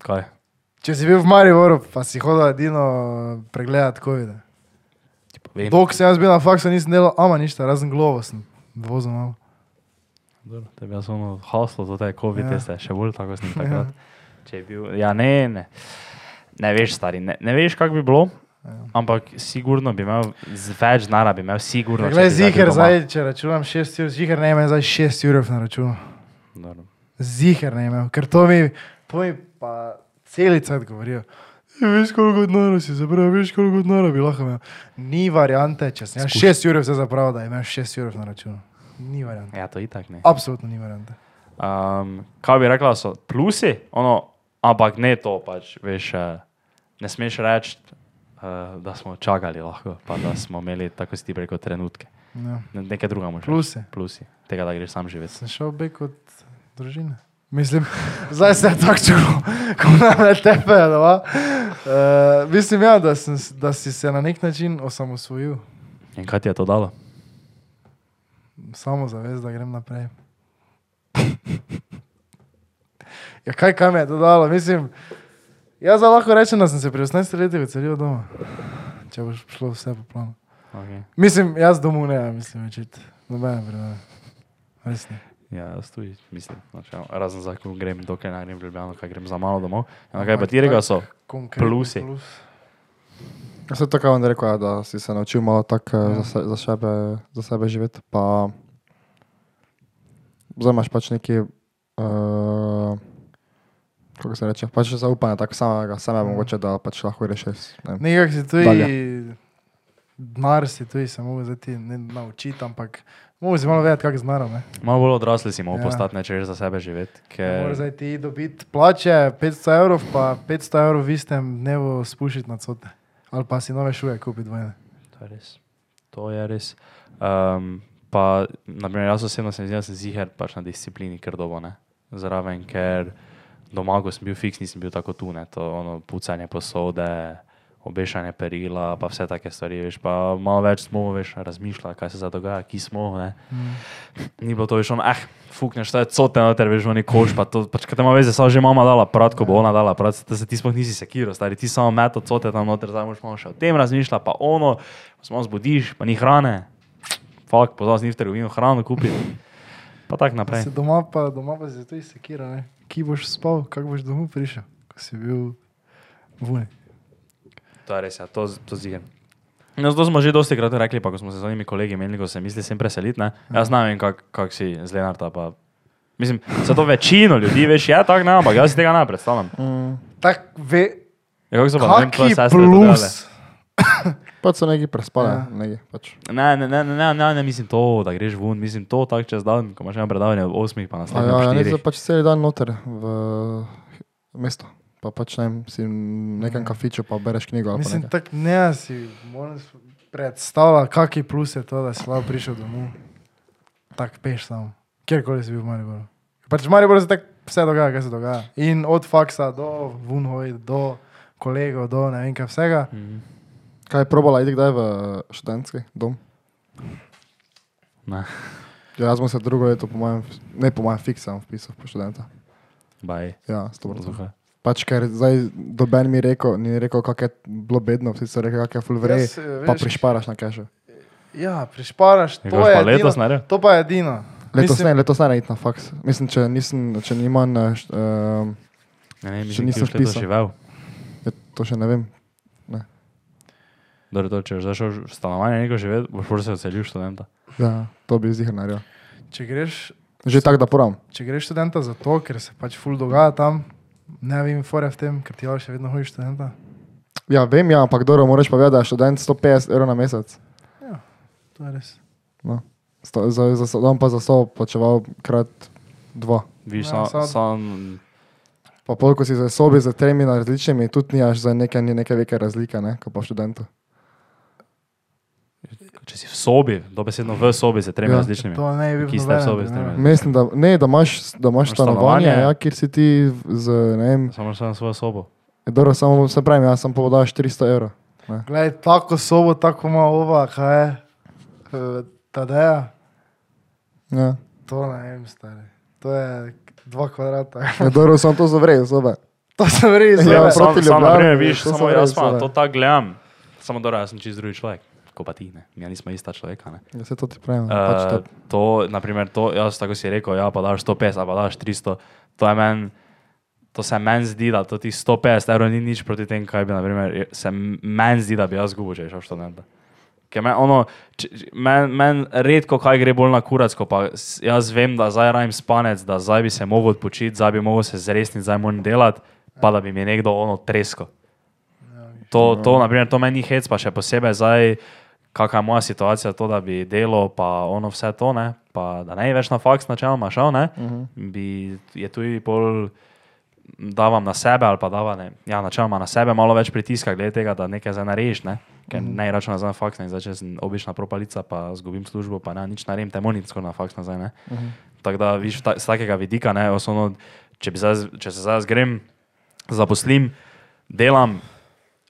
[SPEAKER 2] Kaj?
[SPEAKER 1] Če si bil v Mariboru, pa si hodil edino pregledati COVID. -e.
[SPEAKER 2] Ti povem.
[SPEAKER 1] Dok sem jaz bil na faksu, nisem delal, ama ništa, razen glavo sem vozil malo.
[SPEAKER 2] Dobro, Tebi je samo haslo, zato je COVID
[SPEAKER 1] Ja.
[SPEAKER 2] ja. teste, še bolj tako sem takrat. Če je bil, ja ne, ne. Ne veš, stari, ne, ne veš, kako bi bilo,
[SPEAKER 1] Ja.
[SPEAKER 2] ampak sigurno bi imel z- več denarja, bi imel sigurno. če
[SPEAKER 1] Glej,
[SPEAKER 2] bi zdaj bil
[SPEAKER 1] ziger,
[SPEAKER 2] doma.
[SPEAKER 1] Ja, zdaj, če računam 6 ur, ziger ne ima zdaj 6 ur na računu.
[SPEAKER 2] Dobro.
[SPEAKER 1] Ziger ne ima, ker to mi, to mi pa celice govorijo. Ja, Veš, koliko denarja si zapravil, veš, koliko denarja bi lahko imel. Ni variante, če si imaš 6 ur za zapravo, da imaš 6 ur na računu. Ni variante.
[SPEAKER 2] Ja, to itak ne.
[SPEAKER 1] Absolutno ni variante.
[SPEAKER 2] Um, kaj bi rekla, so plusi, ono, ampak ne to, pač, veš, eh, ne smeš reči, uh, da smo čakali, lahko, pa da smo imeli, tako si ti rekel, trenutke.
[SPEAKER 1] Ja.
[SPEAKER 2] Ne, nekaj drugega moraš. reči.
[SPEAKER 1] Pluse.
[SPEAKER 2] Plusi, tega, da greš sam živeti.
[SPEAKER 1] Sem šel bek od družine. Mislim, zdaj se je tako čulo, ko nam je tepelo. Uh, mislim, ja, da, sem, s- da si se na nek način osamosvojil,
[SPEAKER 2] In kaj ti je to dalo?
[SPEAKER 1] samo zavez, da grem naprej. Ja, kaj, kaj mi je to dalo? Mislim, jaz zdaj lahko rečem, da sem se pri 18 letih odselil doma, če boš šlo vse po planu.
[SPEAKER 2] Okay.
[SPEAKER 1] Mislim, jaz domov ne, mislim, večit. Nobene primere. Res ne.
[SPEAKER 2] Ja, jaz tudi mislim. Znači, ja, razen za ko grem, dokaj ne grem v Ljubljano, kaj grem za malo domov. Ja, kaj pa ti rekel, so
[SPEAKER 1] Konkretno
[SPEAKER 2] Plusi.
[SPEAKER 1] Plus.
[SPEAKER 3] Jaz sem tako vam rekel, ja, da si se naučil malo tako eh,
[SPEAKER 1] Ja.
[SPEAKER 3] za, se, za, sebe, za sebe živeti. Pa zdaj imaš pač neki, uh, kako se reče, pač zaupanje, tako samega, samega
[SPEAKER 1] Mhm.
[SPEAKER 3] mogoče, da pač lahko rešiš. ne vem.
[SPEAKER 1] Nekako si tudi,
[SPEAKER 3] Dalje.
[SPEAKER 1] denar si tudi, se mogo zdaj ti ne naučiti, ampak mogo si malo vedeti, kako znaram.
[SPEAKER 2] malo bolj odrasli, si moramo
[SPEAKER 1] Ja.
[SPEAKER 2] ja. postati, ne če greš za sebe živeti.
[SPEAKER 1] Ne moreš
[SPEAKER 2] Ker...
[SPEAKER 1] zdaj ti dobiti plače 500 evrov, pa 500 evrov v istem dnevu spušiti na cote. Ali pa si nove šuje kupiti dvojne.
[SPEAKER 2] To je res. To je res. Um, pa, naprimer, jaz osebno sem zelo ziger pač na disciplini, ker dobo ne. Zraven, ker doma, ko sem bil fiks, nisem bil tako tu, ne, to ono pucanje posode, obešanje perila, pa vse take stvari, veš, pa malo več smo, veš, razmišljali, kaj se zdaj dogaja, ki smo, ne.
[SPEAKER 1] Mm.
[SPEAKER 2] Ni bilo to več ono, eh, fukneš, to je cote noter, veš, oni koš, pa to, pač, kaj te ima veze, samo že mama dala prat, ko bo ona dala prat, da se ti sploh nisi sekiral, stari, ti samo meto cote tam noter, zdaj moraš malo še o tem razmišljati, pa ono, ko se malo zbudiš, pa ni hrane, fuk, pozval si ni v trgovino hrano kupiti, pa tako
[SPEAKER 1] Pa si
[SPEAKER 2] naprej.
[SPEAKER 1] doma pa, doma pa si tudi sekira, ne? ki boš spal, kako boš domov prišel, ko si bil vune.
[SPEAKER 2] To je res, ja, to, to zigem. No, to smo že dosti krat rekli, pa ko smo se z njimi kolegi menili, ko se misli sem preseliti, ne, jaz znam, kako kak si z Lenarta, pa mislim, za to večino ljudi, veš, ja, tako ne, ampak jaz si tega ne predstavljam.
[SPEAKER 1] Tak ve,
[SPEAKER 2] Ja, kako so pa, ne vem, tvoje
[SPEAKER 1] kaki
[SPEAKER 2] sestre delale?
[SPEAKER 1] plus.
[SPEAKER 3] Pač so neki prespali,
[SPEAKER 1] Ja.
[SPEAKER 3] ja. neki pač.
[SPEAKER 2] Ne, ne, ne, ne, ne, ne, ne, mislim to, da greš ven, mislim to tako čez dan, ko imaš eno predavanje ob 8, pa
[SPEAKER 3] A
[SPEAKER 2] naslednje
[SPEAKER 3] Ja, ja,
[SPEAKER 2] ob
[SPEAKER 3] ne, zdaj
[SPEAKER 2] 4.
[SPEAKER 3] pač cel dan noter v mesto. Pa pač ne vem, si v nekem kafiču, pa bereš knjigo. ali
[SPEAKER 1] Ja.
[SPEAKER 3] pa
[SPEAKER 1] Mislim,
[SPEAKER 3] nekaj.
[SPEAKER 1] tako ne si moram si predstavljati, kakšen plus je to, da si lahko prišel domov. Tako peš samo, kjerkoli si bil v Mariboru. Pač v Mariboru se tako vse dogaja, kaj se dogaja. In od faksa do vunhoj, do kolegov, do ne vem kaj vsega.
[SPEAKER 2] Mhm.
[SPEAKER 3] Kaj je probala, idi kdaj v študentski dom?
[SPEAKER 2] Ne,
[SPEAKER 3] Ja, jaz sem se drugo leto, po mojem, ne po mojem, fiksam vpisal po študenta.
[SPEAKER 2] baj,
[SPEAKER 3] Ja, sto procentov.
[SPEAKER 2] razumem.
[SPEAKER 3] Pač ker zdaj doben mi rekel, ni rekel, kako je bilo bedno, vsi so rekli, kako je full vrej,
[SPEAKER 1] Jaz, eh,
[SPEAKER 3] pa
[SPEAKER 1] veš-
[SPEAKER 3] prišparaš na kešu.
[SPEAKER 1] Ja, prišparaš, to
[SPEAKER 2] Ja, kaj boš
[SPEAKER 1] je
[SPEAKER 2] pa letos
[SPEAKER 1] edino.
[SPEAKER 2] naredil?
[SPEAKER 1] To pa je edino.
[SPEAKER 3] Letos
[SPEAKER 1] Mislim-
[SPEAKER 3] ne, letos ne iti na faks. Mislim, če nisem, če nimam, eh, št- ehm,
[SPEAKER 2] Ne, ne,
[SPEAKER 3] Še
[SPEAKER 2] mislim,
[SPEAKER 3] nisem
[SPEAKER 2] da si
[SPEAKER 3] vpisal.
[SPEAKER 2] živel.
[SPEAKER 3] je to še ne vem.
[SPEAKER 2] Dobro, to, če boš zašel v stanovanje neko živeti, boš prvo se odselil študenta.
[SPEAKER 3] Ja, to bi zihar naredil.
[SPEAKER 1] Če greš,
[SPEAKER 3] Že tako, da poram.
[SPEAKER 1] če greš študenta zato, ker se pač ful dogaja tam, ne vem, fore v tem, ker ti lahko še vedno hojiš študenta.
[SPEAKER 3] Ja, vem, ja, ampak dobro, moraš pa vedeti, da je študent 150 evrov na mesec.
[SPEAKER 1] Ja,
[SPEAKER 3] No.
[SPEAKER 1] To je res.
[SPEAKER 3] Sto, za, za, so- on pa za sobo plačeval krat dva.
[SPEAKER 2] Viš,
[SPEAKER 1] Ja,
[SPEAKER 2] ja,
[SPEAKER 1] sad-
[SPEAKER 2] sam, sam,
[SPEAKER 3] Pa pol, ko si za sobi za tremi na različnimi, tudi nimaš za nekaj, ni nekaj velike razlike, ne, kot pa študentu.
[SPEAKER 2] če si v sobi, dobesedno v sobi z tremi ja,
[SPEAKER 3] Ja.
[SPEAKER 2] različnimi.
[SPEAKER 1] To ne bi
[SPEAKER 2] Ki
[SPEAKER 1] bilo
[SPEAKER 2] ste v sobi s
[SPEAKER 1] nobene.
[SPEAKER 2] tem?
[SPEAKER 3] Mislim, da, ne, da imaš, da imaš
[SPEAKER 2] Imaš
[SPEAKER 3] stanovanje,
[SPEAKER 2] stanovanje.
[SPEAKER 3] ja, kjer si ti, z, ne vem,
[SPEAKER 2] Samo še na svojo sobo.
[SPEAKER 3] dobro, samo se pravi, jaz sem povodaš 400 evrov.
[SPEAKER 1] Glej, tako sobo, tako ima ova, kaj je. Eh, Tadeja,
[SPEAKER 3] Ja.
[SPEAKER 1] to ne vem, stari. To je dva kvadrata.
[SPEAKER 3] Ja, dobro, sem to zavrel, sobe.
[SPEAKER 1] to sem res. Ja,
[SPEAKER 3] Ja, prav. proti
[SPEAKER 2] samo,
[SPEAKER 3] Ljubljani,
[SPEAKER 2] naprimer, viš,
[SPEAKER 3] to so
[SPEAKER 2] samo
[SPEAKER 3] res,
[SPEAKER 2] jaz pa to
[SPEAKER 3] to je.
[SPEAKER 2] tako gledam. Samo dobro, jaz sem čist drugi človek, ko pa ti ne. Mi nismo ista človeka, ne.
[SPEAKER 3] Ja, se to ti pravim. Uh, pač
[SPEAKER 2] Uh,
[SPEAKER 3] to.
[SPEAKER 2] to, naprimer, to, jaz tako si rekel, ja, pa daš 150, pa daš 300, to je meni. To se meni zdi, da to ti 150 evrov ni nič proti tem, kaj bi, naprimer, je- se m- meni zdi, da bi jaz zgubil, če bi šel študenta. Ker meni ono, če- če- meni men redko kaj gre bolj na kurac, ko pa s- jaz vem, da zdaj rajem spanec, da zdaj bi se mogel odpočiti, zdaj bi mogel se zresniti, zdaj moram delati, pa da bi mi nekdo ono tresko.
[SPEAKER 3] Ja,
[SPEAKER 2] To,
[SPEAKER 3] no.
[SPEAKER 2] to, naprimer, to meni ni hec, pa še posebej zdaj, kakšna je moja situacija, to, da bi delo, pa ono vse to, ne, pa da ne bi več na faks načeloma šel, ne, uh
[SPEAKER 3] Mhm.
[SPEAKER 2] -huh. bi je tudi bolj davam na sebe ali pa dava, ne, ja, načeloma na sebe malo več pritiska glede tega, da nekaj zdaj narediš, ne, ker
[SPEAKER 3] Mhm.
[SPEAKER 2] mm. ne računam za faks, ne, zdaj če sem obična propalica, pa zgubim službo, pa ne, nič naredim, te moram tako na faks nazaj, ne. Mm
[SPEAKER 3] Mhm.
[SPEAKER 2] -hmm. Tako da, viš, ta, z takega vidika, ne, osnovno, če, bi zdaj, če se zdaj grem, zaposlim, delam,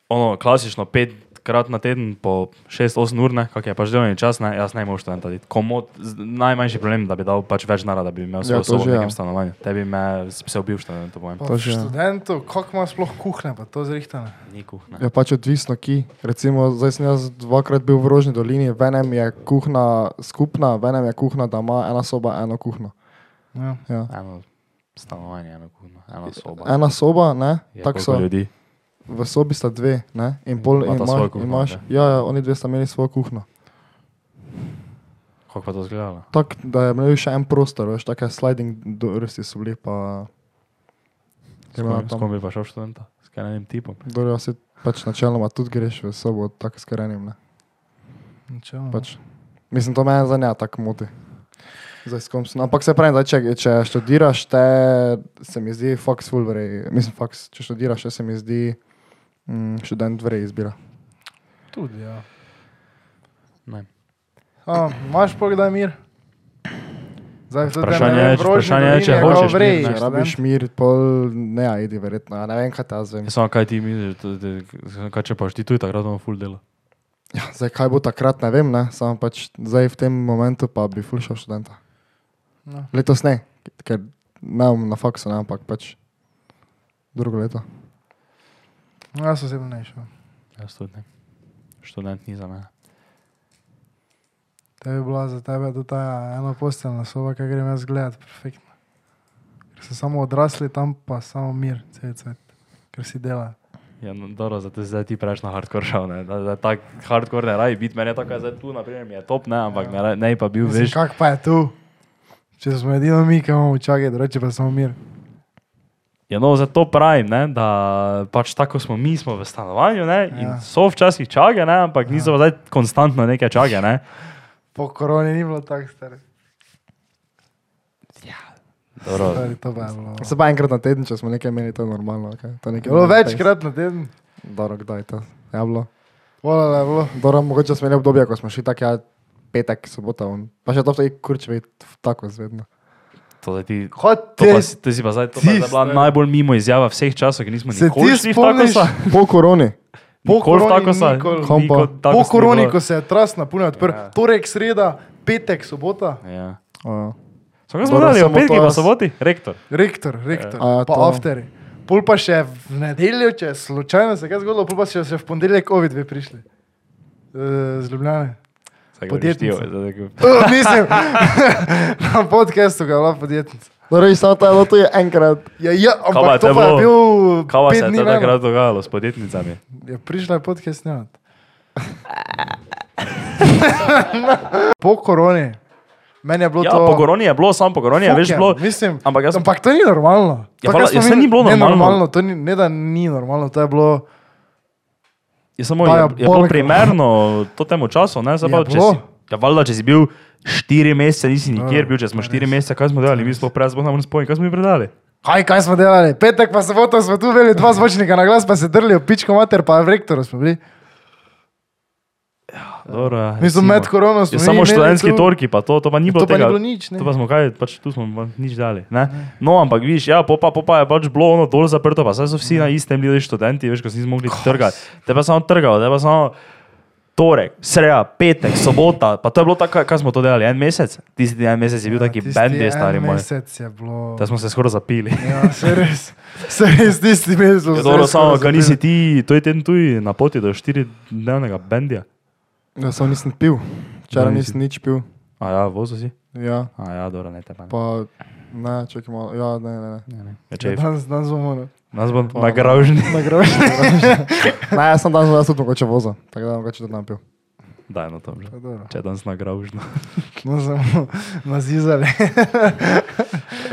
[SPEAKER 2] ono, klasično petkrat na teden po 6-8 ur, ne, kak je pač delovni čas, ne, jaz ne morem študentati. Komod, z- najmanjši problem, da bi dal pač več nara, da bi imel svojo
[SPEAKER 3] Ja,
[SPEAKER 2] ja,
[SPEAKER 3] to
[SPEAKER 2] sobo
[SPEAKER 3] že
[SPEAKER 2] v
[SPEAKER 3] ja.
[SPEAKER 2] nekem stanovanju. Tebi me se ubil študent, to povem.
[SPEAKER 1] Pa
[SPEAKER 3] To že, ja.
[SPEAKER 1] študentu, kako ima sploh kuhne, pa to zrihtane.
[SPEAKER 2] Ni kuhna.
[SPEAKER 3] Je pač odvisno, ki. Recimo, zdaj sem jaz dvakrat bil v Rožni dolini, v enem je kuhna skupna, v enem je kuhna, da ima ena soba, eno kuhno.
[SPEAKER 1] Ja.
[SPEAKER 3] Ja.
[SPEAKER 2] Eno stanovanje, eno kuhno, eno sobo.
[SPEAKER 3] Ena soba, ne?
[SPEAKER 2] Je
[SPEAKER 3] Tako
[SPEAKER 2] Ja, koliko
[SPEAKER 3] so.
[SPEAKER 2] ljudi.
[SPEAKER 3] V sobi sta dve, ne? In pol
[SPEAKER 2] Imata
[SPEAKER 3] in
[SPEAKER 2] svojo
[SPEAKER 3] imaš,
[SPEAKER 2] kuhno,
[SPEAKER 3] imaš
[SPEAKER 2] ne?
[SPEAKER 3] ja, ja, oni dve sta imeli svojo kuhno.
[SPEAKER 2] Kako pa to izgledalo?
[SPEAKER 3] Tako da je imel še en prostor, veš, take sliding doorsi so bili pa...
[SPEAKER 2] S
[SPEAKER 3] Je imela
[SPEAKER 2] kom- S
[SPEAKER 3] tam-
[SPEAKER 2] kom bi pa šel študenta? S kanim tipom.
[SPEAKER 3] Dobro, si pač načeloma tudi greš v sobo, tako s karenim, ne?
[SPEAKER 2] Mhm.
[SPEAKER 1] Načeloma.
[SPEAKER 3] Pač, mislim, to me zanja tako moti. Zdaj, s kom sem- Ampak se pravi, da če, če študiraš, te se mi zdi faks fulveri. Mislim, faks, če študiraš, te se mi zdi mm, študent vrej izbira.
[SPEAKER 1] Tudi, ja.
[SPEAKER 2] Ne.
[SPEAKER 1] A, imaš pa kdaj mir? Zdaj, v tem
[SPEAKER 2] Vprašanje
[SPEAKER 1] ne
[SPEAKER 2] je,
[SPEAKER 1] vem,
[SPEAKER 2] če-
[SPEAKER 1] v Rožni
[SPEAKER 2] vprašanje je,
[SPEAKER 1] dolini
[SPEAKER 2] če
[SPEAKER 1] kao
[SPEAKER 2] hočeš mir,
[SPEAKER 1] vrej,
[SPEAKER 2] ne,
[SPEAKER 3] Če
[SPEAKER 1] študent.
[SPEAKER 3] rabiš mir, pol ne, ajdi verjetno. Ja, ne vem, kaj te jaz vem.
[SPEAKER 2] Jaz sem kaj ti misliš, da- da- kaj če paš ti tu, takrat imamo full delo.
[SPEAKER 3] Ja, zdaj, kaj bo takrat, ne vem, ne? samo pač zdaj v tem momentu pa bi fulšal študenta.
[SPEAKER 1] No.
[SPEAKER 3] Letos ne, ker ne bom na faksu, ne, ampak pač drugo leto.
[SPEAKER 1] No, Jaz osebno ne bi šel.
[SPEAKER 2] Jaz tudi ne. Študent ni za mene.
[SPEAKER 1] To je bila za tebe do ta ena posteljna soba, ki grem jaz gledat, perfektno. Ker so samo odrasli tam, pa samo mir, cel cvet, ker si dela.
[SPEAKER 2] Ja, no, dobro, zato si zdaj ti prejš na hardcore šel, ne. Da, da tak hardcore ne rabi biti, meni je tako, da zdaj tu, naprimer, mi je top, ne, ampak ne, ra- ne bi pa bil,
[SPEAKER 1] Mislim,
[SPEAKER 2] veš,
[SPEAKER 1] Kak pa je tu? Če smo edino mi, ki imamo čakati, reče pa samo mir.
[SPEAKER 2] Ja, no, zato pravim, ne, da pač tako smo mi, smo v stanovanju. Ne, in
[SPEAKER 1] Ja.
[SPEAKER 2] ja. so včasih čage, ne, ampak ja. niso zdaj konstantno neke čage. Ne.
[SPEAKER 1] Po koroni ni bilo tako staro.
[SPEAKER 2] Dobro,
[SPEAKER 1] Stari, to pa je bilo.
[SPEAKER 3] Se pa enkrat na teden, če smo nekaj imeli, to je normalno. Okay?
[SPEAKER 1] No.
[SPEAKER 3] To je
[SPEAKER 1] Je
[SPEAKER 3] nekaj
[SPEAKER 1] bilo večkrat na teden,
[SPEAKER 3] Dobro, kdaj to? Ja, bilo.
[SPEAKER 1] volala je bilo.
[SPEAKER 3] Dobro, mogoče smo imeli obdobje, ko smo šli tako, ja, petek, sobota. On. Pa še to vtej kurčevi, tako zvedno.
[SPEAKER 2] to, zdaj ti, to,
[SPEAKER 1] Hotel
[SPEAKER 2] pa, si- to si pa zdaj, to
[SPEAKER 1] Ti
[SPEAKER 2] pa je zdaj bila
[SPEAKER 1] stari.
[SPEAKER 2] najbolj mimo izjava vseh časov, ki nismo
[SPEAKER 1] Se
[SPEAKER 2] nikoli
[SPEAKER 1] ti
[SPEAKER 2] šli v tako
[SPEAKER 1] spomniš?
[SPEAKER 2] sa.
[SPEAKER 3] Po koroni.
[SPEAKER 1] Po
[SPEAKER 2] Nikoli v
[SPEAKER 1] koroni
[SPEAKER 2] tako sa.
[SPEAKER 1] nikoli.
[SPEAKER 3] Kam pa?
[SPEAKER 1] Po koroni, ko se je tras napunil, odprl. Torek, sreda, petek, sobota.
[SPEAKER 2] Ja.
[SPEAKER 3] Uh,
[SPEAKER 2] Samo kaj smo
[SPEAKER 3] Dobro,
[SPEAKER 2] dali,
[SPEAKER 3] samo
[SPEAKER 2] opet,
[SPEAKER 3] to
[SPEAKER 2] ki pa
[SPEAKER 3] jaz-
[SPEAKER 2] soboti, rektor.
[SPEAKER 1] Rektor, rektor,
[SPEAKER 3] Ja. A ja,
[SPEAKER 1] pa
[SPEAKER 3] to.
[SPEAKER 1] afteri. Pol pa še v nedeljo, če je slučajno se kaj zgodilo, pol pa še, še v ponedeljek ovi dve prišli. Eh, Z Ljubljane. Podjetnica.
[SPEAKER 2] Podjetnik.
[SPEAKER 1] Eh, Mislim, na podkastu ga je bila podjetnica.
[SPEAKER 3] Dobro, Torej, samo to je bilo, to je enkrat.
[SPEAKER 1] Ja, ja,
[SPEAKER 2] pa je
[SPEAKER 1] ampak to pa
[SPEAKER 2] te
[SPEAKER 1] je
[SPEAKER 2] bilo?
[SPEAKER 1] bil
[SPEAKER 2] Kaj pa se
[SPEAKER 1] pet
[SPEAKER 2] je
[SPEAKER 1] dni
[SPEAKER 2] to
[SPEAKER 1] meni.
[SPEAKER 2] takrat dogajalo s podjetnicami?
[SPEAKER 1] Ja, prišla je podcast snemat. po koroni. Meni je bilo
[SPEAKER 2] Ja,
[SPEAKER 1] to...
[SPEAKER 2] po koroni je bilo, samo po koroni je
[SPEAKER 1] Fuck
[SPEAKER 2] več
[SPEAKER 1] je,
[SPEAKER 2] bilo.
[SPEAKER 1] Mislim,
[SPEAKER 2] ampak jaz-
[SPEAKER 1] ampak to ni normalno. To,
[SPEAKER 2] Ja,
[SPEAKER 1] kar
[SPEAKER 2] hvala,
[SPEAKER 1] smo
[SPEAKER 2] ja, saj
[SPEAKER 1] mi-
[SPEAKER 2] ni bilo
[SPEAKER 1] ne
[SPEAKER 2] normalno.
[SPEAKER 1] To ni, ne, da ni normalno, to je bilo...
[SPEAKER 2] Je samo
[SPEAKER 1] Dajo
[SPEAKER 2] je, je bilo
[SPEAKER 1] boleko.
[SPEAKER 2] primerno to temu času, ne
[SPEAKER 1] Je
[SPEAKER 2] zabavno. Če
[SPEAKER 1] bilo.
[SPEAKER 2] si, ja, valjda, če si bil štiri mesece, nisi nikjer
[SPEAKER 1] Ja,
[SPEAKER 2] bil, če smo
[SPEAKER 1] res.
[SPEAKER 2] štiri mesece, kaj smo delali, mi smo prej zbog nam spojili, kaj smo mi predali.
[SPEAKER 1] Kaj, kaj smo delali? Petek pa soboto smo tu bili dva zvočnika na glas, pa se drli v pičko mater, pa v rektoru smo bili.
[SPEAKER 2] Dobro, ja,
[SPEAKER 1] Mi smo
[SPEAKER 2] recimo.
[SPEAKER 1] med korono
[SPEAKER 2] Je
[SPEAKER 1] smo
[SPEAKER 2] samo
[SPEAKER 1] imeli
[SPEAKER 2] študentski
[SPEAKER 1] tu-
[SPEAKER 2] torki, pa to, to pa ni bilo
[SPEAKER 1] To pa ni
[SPEAKER 2] tega.
[SPEAKER 1] bilo nič, ne.
[SPEAKER 2] To pa smo kaj, pač tu smo pa nič dali. Ne? No, ampak vidiš, ja, popa, popa je pač bilo ono dol zaprto, pa saj
[SPEAKER 1] Ja.
[SPEAKER 2] so vsi na istem bili študenti, veš, ko si nismo mogli trgati. Te pa samo trgal, te pa samo torek, sreja, petek, sobota, pa to je bilo tako, kaj smo to delali, en mesec. Tisti en mesec je bil taki
[SPEAKER 1] Ja, Tisti
[SPEAKER 2] bendi,
[SPEAKER 1] en
[SPEAKER 2] stari moj.
[SPEAKER 1] Mesec je bilo...
[SPEAKER 2] Da smo se skoraj zapili.
[SPEAKER 1] Ja, se res, se res tisti mesec smo
[SPEAKER 2] Ja,
[SPEAKER 1] se
[SPEAKER 2] dobro,
[SPEAKER 1] res
[SPEAKER 2] samo,
[SPEAKER 1] skoraj
[SPEAKER 2] kaj nisi
[SPEAKER 1] zapili.
[SPEAKER 2] ti, to je teden tuji na poti do štiridnevnega bendija.
[SPEAKER 3] Ja, samo nisem pil. Včeraj
[SPEAKER 2] Da, nisi.
[SPEAKER 3] nisem nič pil.
[SPEAKER 2] A ja, vozo si?
[SPEAKER 3] Ja,
[SPEAKER 2] A ja, dobro, ne te pa. ne.
[SPEAKER 3] pa ne, čakaj malo. Ja, ne, ne, ne.
[SPEAKER 2] Ne, ne. Ja,
[SPEAKER 1] Ja,
[SPEAKER 2] če-
[SPEAKER 1] Danes, danes bomo na-
[SPEAKER 2] Nas bo nagražen.
[SPEAKER 1] nagraženi.
[SPEAKER 3] Ne, jaz sem danes, jaz sem mogoče vozil, tako da mogoče tudi ne pil.
[SPEAKER 2] Da, no to že.
[SPEAKER 1] Pa dobro.
[SPEAKER 2] Če je danes nagražen.
[SPEAKER 1] No, samo nazizali.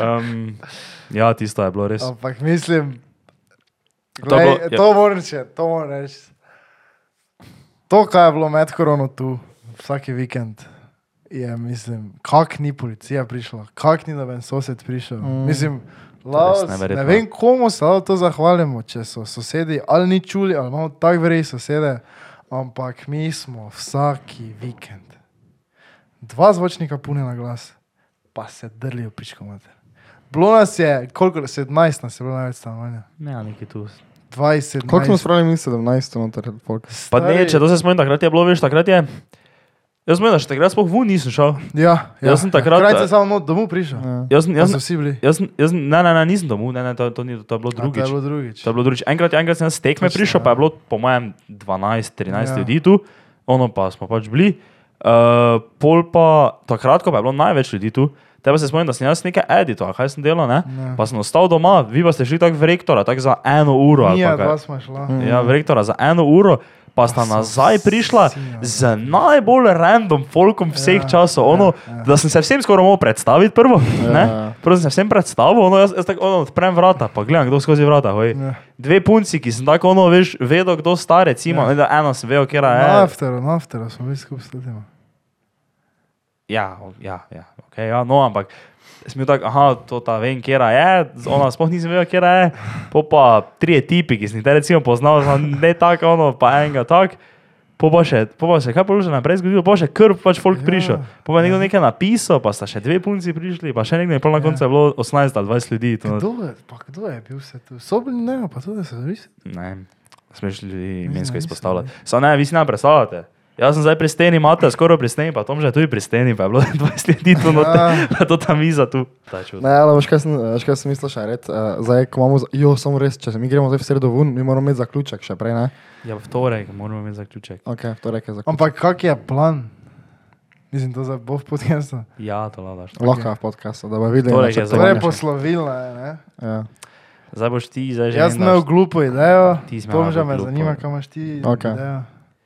[SPEAKER 2] Um, ja, tisto je bilo res.
[SPEAKER 1] Ampak mislim,
[SPEAKER 2] To je
[SPEAKER 1] glej,
[SPEAKER 2] bilo- ja.
[SPEAKER 1] to moram reči, to moram reči. To, kar je bilo med korono tu, vsak vikend, je, mislim, kak ni policija prišla, kak ni noben sosed prišel.
[SPEAKER 3] Mm.
[SPEAKER 1] Mm. Mislim,
[SPEAKER 2] res
[SPEAKER 1] Laos, ne
[SPEAKER 2] neverjetno.
[SPEAKER 1] vem, komu se lahko to zahvalimo, če so sosedi ali ni čuli, ali imamo tako vrej sosede, ampak mi smo vsaki vikend. Dva zvočnika pune na glas, pa se drlijo pičkomate. Bilo nas je, koliko, 17 nas je bilo največ stanovanja.
[SPEAKER 2] Ne, neki tu.
[SPEAKER 1] 20,
[SPEAKER 3] Koliko smo spravili, mi 17, noter, polk.
[SPEAKER 2] Pa ne, če to se spomnim, takrat je bilo, veš, takrat je. Jaz sem, da še takrat sploh vun nisem šel.
[SPEAKER 1] Ja, ja.
[SPEAKER 2] Jaz sem takrat-
[SPEAKER 1] Kraj se samo not- domov prišel. Ja.
[SPEAKER 2] Jaz, sem- jaz,
[SPEAKER 1] Jaz sem
[SPEAKER 2] sem-
[SPEAKER 1] vsi bili.
[SPEAKER 2] jaz, sem- jaz, sem- ne, ne, ne, nisem domu, ne, ne, to, to, ni, to je bilo
[SPEAKER 1] Ja,
[SPEAKER 2] drugič.
[SPEAKER 1] to je bilo drugič.
[SPEAKER 2] To je bilo drugič. Enkrat, je- enkrat sem jaz s tekme
[SPEAKER 1] Točno,
[SPEAKER 2] prišel,
[SPEAKER 1] ja.
[SPEAKER 2] pa je bilo, po mojem,
[SPEAKER 1] Ja.
[SPEAKER 2] 12-13 ja. ljudi tu, ono pa smo pač bili. Uh, pol pa, takrat, ko pa je bilo največ ljudi tu, tebe se spomnim, da sem jaz nekaj editov, kaj sem delal, ne?
[SPEAKER 1] Ja.
[SPEAKER 2] Pa sem ostal doma, vi pa ste šli tako v rektora, tako za eno uro. ali
[SPEAKER 1] Ja,
[SPEAKER 2] pa kaj.
[SPEAKER 1] dva smo šla.
[SPEAKER 2] Ja, v rektora za eno uro, pa sta
[SPEAKER 1] Mm. Ah, so
[SPEAKER 2] nazaj prišla
[SPEAKER 1] vsi na-
[SPEAKER 2] z najbolj random folkom vseh
[SPEAKER 1] Ja,
[SPEAKER 2] ja, časov. Ono,
[SPEAKER 1] ja, ja.
[SPEAKER 2] ja, ja. Da sem se vsem skoraj moral predstaviti prvo.
[SPEAKER 3] Ja,
[SPEAKER 2] Ja.
[SPEAKER 3] ja.
[SPEAKER 2] Prvo sem se vsem predstavil, ono, jaz, jaz tako ono, odprem vrata, pa gledam, kdo skozi vrata. Hoj.
[SPEAKER 1] Ja.
[SPEAKER 2] Dve punci, ki sem tako ono, veš, vedel, kdo starec ima, ja. eno sem vedel, kera je.
[SPEAKER 1] Na afteru, na afteru smo bili skupaj s ljudmi.
[SPEAKER 2] Ja, o- ja, ja, okay, ja no, ampak sem bil tak, aha, to ta vem, tota, kera je, z- ona sploh nisem vedel, kera je, po pa trije tipi, ki sem jih te recimo poznal, znam, ne tako, ono, pa enega tak, po pa še, po pa še, kaj položaj naprej zgodilo, po še krv pač
[SPEAKER 1] Ja,
[SPEAKER 2] folk ja, prišel, po pa nekdo nekaj napisal, pa sta še dve punci prišli, pa še nekdo in pol na
[SPEAKER 1] Ja.
[SPEAKER 2] koncu je bilo 18 ali 20 ljudi. To,
[SPEAKER 1] Kdo je, pa kdo je bil vse tu? Sobni ne, pa tudi se zavisi.
[SPEAKER 2] Ne, smeš ljudi imensko
[SPEAKER 1] nisem,
[SPEAKER 2] izpostavljati. Samo ne, vi si ne predstavljate. Jaz sem zdaj pri steni, imate skoraj pri steni, pa tam že tudi pri steni, pa je bilo 20 ljudi tu
[SPEAKER 1] Ja.
[SPEAKER 2] noter, pa to tam miza tu. Ta čud.
[SPEAKER 3] Ne, ali veš kaj sem, veš, kaj sem mislil še reči? Uh, zdaj, ko imamo, za- jo, samo res, če se mi gremo zdaj v sredo ven, mi moramo imeti zaključek še prej, ne?
[SPEAKER 2] Ja, v torek moramo imeti zaključek.
[SPEAKER 3] Ok, to reke zaključek.
[SPEAKER 1] Ampak kak je plan? Mislim, to zdaj bo v podkastu.
[SPEAKER 2] Ja, to ladaš.
[SPEAKER 3] Lahko v podkastu, da bi videli.
[SPEAKER 2] Torej,
[SPEAKER 1] no.
[SPEAKER 2] je
[SPEAKER 1] To je
[SPEAKER 2] Zavrneš.
[SPEAKER 1] poslovilna, je, ne?
[SPEAKER 3] Ja.
[SPEAKER 2] Zdaj boš ti, zdaj že.
[SPEAKER 1] Jaz sem imel glupo idejo,
[SPEAKER 2] Ti si imel
[SPEAKER 1] Tomža me
[SPEAKER 2] glupo.
[SPEAKER 1] zanima, kam imaš ti
[SPEAKER 3] Ok.
[SPEAKER 1] idejo.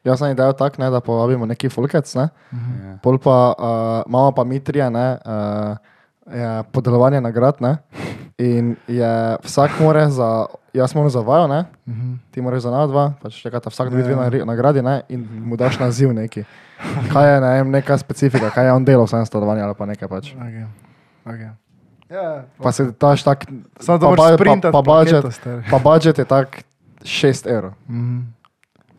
[SPEAKER 3] Jaz sem idejo tak, ne, da povabimo neki folkec, ne?
[SPEAKER 1] Mhm.
[SPEAKER 2] Ja.
[SPEAKER 3] Pol pa uh, imamo pa Mitrija, ne, uh, je podeljevanje nagrad, ne. In je vsak more za, jaz moram za vajo, ne,
[SPEAKER 1] Mhm.
[SPEAKER 3] ti moraš za nas dva, pač čakata vsak dobi
[SPEAKER 1] Ja,
[SPEAKER 3] dve
[SPEAKER 1] ja.
[SPEAKER 3] nagri- nagradi, ne, in mu daš naziv neki. Kaj je, ne vem, neka specifika, kaj je on delal, sem stanovanje ali pa nekaj pač.
[SPEAKER 1] Okay. Okay. Ja,
[SPEAKER 3] Pa se daš tak,
[SPEAKER 1] Samo da
[SPEAKER 3] pa,
[SPEAKER 1] moraš
[SPEAKER 3] pa,
[SPEAKER 1] sprintati
[SPEAKER 3] pa, budget,
[SPEAKER 1] plaketo, stari.
[SPEAKER 3] pa budget je tak 6 evrov.
[SPEAKER 1] Mhm.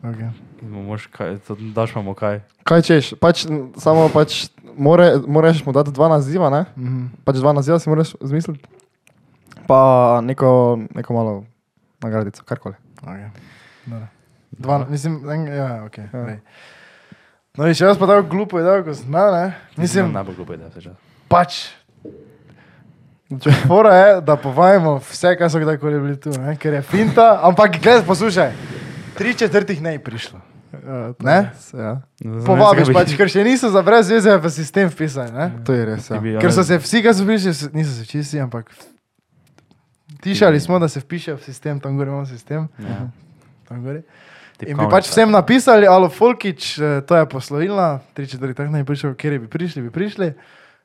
[SPEAKER 1] Okay.
[SPEAKER 2] Moš, kaj, to, daš mu kaj.
[SPEAKER 3] Kaj češ, pač, n- samo pač more, moraš mu dati dva naziva, ne?
[SPEAKER 1] Mhm.
[SPEAKER 3] pač dva naziva si moraš zmisliti, pa neko, neko malo nagradico, karkoli.
[SPEAKER 1] Okay. Dva, mislim, en, ja, okay, ja. No, in še jaz pa tako glupo je, da sem imel, ne? Mislim,
[SPEAKER 2] ne bo glupo, da se že.
[SPEAKER 1] pač. Fora je, da povajamo vse, kar so kdajkoli bili tu, ne? ker je finta, ampak gledaj, poslušaj, tri četrtih ne je prišlo. Ne?
[SPEAKER 3] Ja,
[SPEAKER 1] Povabiš pač, ker še niso za brez veze v sistem vpisali, ne?
[SPEAKER 3] to je res. Ja.
[SPEAKER 1] Ker so se vsi, ki so bili, še- niso se čisti, ampak tišali smo, da se vpišejo v sistem, tam gor imamo sistem,
[SPEAKER 2] Ja.
[SPEAKER 1] tam gor. In bi
[SPEAKER 3] ja.
[SPEAKER 1] pač vsem napisali, ali Folkič, eh, to je poslovilna, tri četrt tak naj prišel, kjer bi prišli, bi prišli,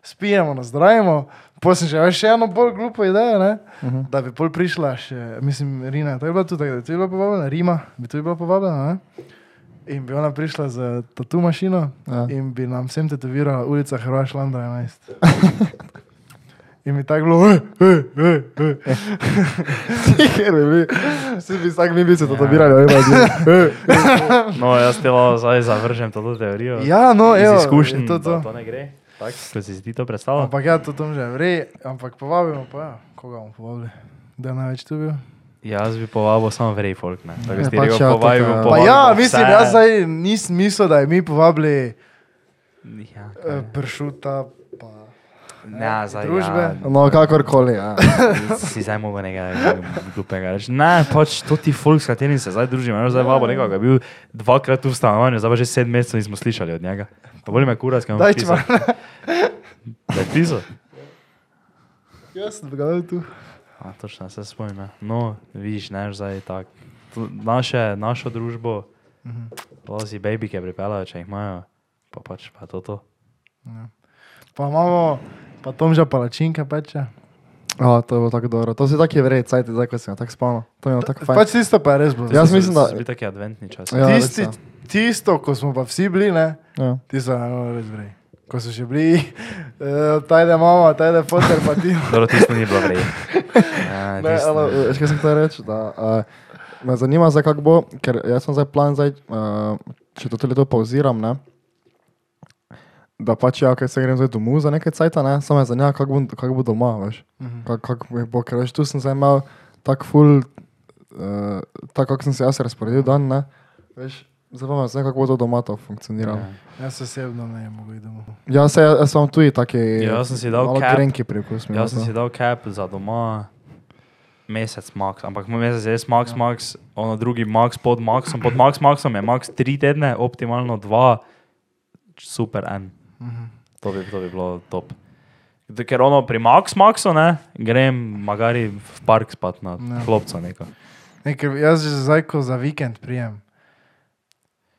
[SPEAKER 1] spijemo, nazdravimo, potem še več eno bolj glupo idejo, ne?
[SPEAKER 3] Uh -huh.
[SPEAKER 1] da bi pol prišla še, mislim, Rina, to je bila tudi, tako, da je tudi bila povabljena, Rima bi tudi bila povabljena, ne? In bi ona prišla z tatu mašino
[SPEAKER 3] Ja.
[SPEAKER 1] in bi nam vsem tetovirala ulica Hrvašlanda 11. In mi tako bilo, "Eh, eh, eh, eh."
[SPEAKER 3] Ker bi bili, vsi bi vsak mi bi se
[SPEAKER 1] Ja.
[SPEAKER 3] tatabirali, ali pa
[SPEAKER 2] No, jaz te lahko zdaj zavržem to teorijo.
[SPEAKER 1] ja, no,
[SPEAKER 2] iz
[SPEAKER 1] evo, je
[SPEAKER 2] izkušenj,
[SPEAKER 1] to, to.
[SPEAKER 2] da to ne gre. Tako, kot si si ti to predstavljal.
[SPEAKER 1] Ampak ja, to tam že vre, ampak povabimo pa ja, koga bomo povabili. Da je največ tu bil.
[SPEAKER 2] Jaz bi povabil samo vrej folk, ne. Tako
[SPEAKER 3] Ja,
[SPEAKER 2] ste
[SPEAKER 3] pač
[SPEAKER 2] rekel,
[SPEAKER 3] ja,
[SPEAKER 2] povabimo.
[SPEAKER 3] tudi, ja.
[SPEAKER 1] Pa
[SPEAKER 2] povabimo
[SPEAKER 1] ja, mislim,
[SPEAKER 2] vse.
[SPEAKER 1] jaz zdaj nisem mislil, da je mi povabili
[SPEAKER 2] Ja,
[SPEAKER 1] eh,
[SPEAKER 2] kaj.
[SPEAKER 1] pršuta. Pa.
[SPEAKER 2] Ne, zdaj.
[SPEAKER 1] družbe.
[SPEAKER 2] Ja,
[SPEAKER 3] No, kakorkoli. Ja.
[SPEAKER 2] si zdaj mogel nekaj glupega reči. Ne, pač to ti folk, s katerim se zdaj družim. Jaz zdaj vabo nekoga, ki je bil dvakrat tu v stanovanju, zdaj pa že sedem mesecev nismo slišali od njega. Pa bolj me kuras, kaj
[SPEAKER 1] Daj, če
[SPEAKER 2] ima. Da je pisal.
[SPEAKER 1] Jaz sem ga tu.
[SPEAKER 2] A, točno, se spomnim. ja. No, vidiš, ne, zdaj tak. To Naše, našo družbo, lozi babike pripeljajo, če jih imajo, pa pač pa to to.
[SPEAKER 1] Pa imamo, pa Tomža palačinka peče.
[SPEAKER 3] A, to je bilo tako dobro. To si tako je vred, cajt, zdaj ko si ga tako spomnil. To je bilo No, tako fajn.
[SPEAKER 1] Pač tisto pa je res bilo.
[SPEAKER 3] Ja, Jaz mislim, da-
[SPEAKER 2] Bi taki adventni čas.
[SPEAKER 3] Ja, res,
[SPEAKER 1] Tisti,
[SPEAKER 3] ja.
[SPEAKER 1] tisto, ko smo pa vsi bili, ne,
[SPEAKER 3] Ja.
[SPEAKER 1] tisto je bilo res vrej. Ko so še bili, uh, tajde mama, tajde foter, pa ti.
[SPEAKER 2] Dobro, tisto ni bilo Ja, vrej.
[SPEAKER 3] Ne, eh, ali, veš, kaj sem hotel reči? Da, uh, me zanima, zdaj, kako bo, ker ja jaz sem zdaj plan, zdaj, uh, če to tudi to pauziram, ne, da pač ja, ker se grem zdaj domov za nekaj cajta, ne, samo me zanima, kako bom- kako bo doma, veš.
[SPEAKER 1] Mhm.
[SPEAKER 3] Kako kak mi bo, ker veš, tu sem zdaj imel tak full, uh, tako kako sem se jaz razporedil dan, ne, veš. Zdaj pa me zanima, kako bo to doma to funkcioniralo.
[SPEAKER 2] Ja.
[SPEAKER 1] Jaz osebno ne mogu iti domov.
[SPEAKER 3] Ja, ja se, jaz, jaz sem tudi taki...
[SPEAKER 2] Ja, jaz sem si dal
[SPEAKER 3] malo
[SPEAKER 2] cap.
[SPEAKER 3] grenki pripust. mi je
[SPEAKER 2] Ja, Jaz sem
[SPEAKER 3] no to.
[SPEAKER 2] si dal cap za doma, mesec max, ampak moj mesec je res max,
[SPEAKER 3] Ja.
[SPEAKER 2] max, ono drugi max pod maxom, pod max maxom je max tri tedne, optimalno dva, super en.
[SPEAKER 1] Mhm.
[SPEAKER 2] To bi, to bi bilo top. Da, Ker ono pri max maxu ne, grem magari v park spat na
[SPEAKER 1] Ja.
[SPEAKER 2] klopco neko.
[SPEAKER 1] Ne, ker jaz že zdaj, ko za vikend prijem,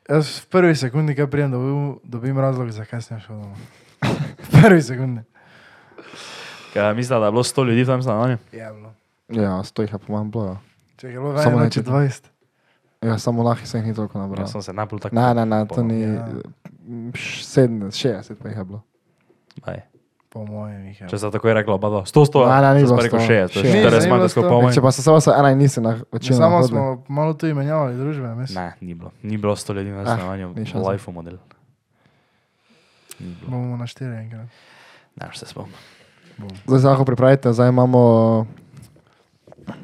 [SPEAKER 1] jaz v prvi sekundi, ko prijem, dobim, dobim razlog, zakaj sem šel domov. V prvi sekundi.
[SPEAKER 2] Ker mislim, da je bilo 100 ljudi tam stanovanju.
[SPEAKER 1] Je bilo.
[SPEAKER 3] Ja, sto jih je po mojem bilo. ja.
[SPEAKER 1] Če je bilo
[SPEAKER 3] Samo
[SPEAKER 1] več noči
[SPEAKER 3] nekaj.
[SPEAKER 1] 20.
[SPEAKER 3] Ja, samo lahko se jih ni toliko nabralo.
[SPEAKER 2] Ja, sem se najbolj tako.
[SPEAKER 3] Ne, ne, ne, to ni.
[SPEAKER 1] Ja.
[SPEAKER 3] Ja. 70, 60 pa jih je bilo.
[SPEAKER 2] Aj,
[SPEAKER 1] Po mojem jih je.
[SPEAKER 2] Če se tako je rekla, oba dva, 100, 100,
[SPEAKER 3] Ne, ne, ni bilo
[SPEAKER 2] rekel
[SPEAKER 3] 100.
[SPEAKER 2] 60,
[SPEAKER 3] Šest. Ni,
[SPEAKER 2] 40
[SPEAKER 1] ni
[SPEAKER 2] manj,
[SPEAKER 1] bilo
[SPEAKER 2] da
[SPEAKER 1] 100.
[SPEAKER 2] skupaj pomeni.
[SPEAKER 3] Če pa se samo se ena in nisi na
[SPEAKER 1] Ne,
[SPEAKER 3] večino.
[SPEAKER 1] Samo
[SPEAKER 3] hodili.
[SPEAKER 1] smo malo tu menjavali družbe, mislim.
[SPEAKER 2] Ne, ni bilo. Ni bilo 100 ljudi na
[SPEAKER 3] Ah,
[SPEAKER 2] stanovanju,
[SPEAKER 3] ni
[SPEAKER 2] ah,
[SPEAKER 3] šanse.
[SPEAKER 2] life model. Ni bilo.
[SPEAKER 1] Bomo na štiri enkrat.
[SPEAKER 2] Ne, še se spomnim.
[SPEAKER 3] Zdaj se lahko pripravite, zdaj imamo.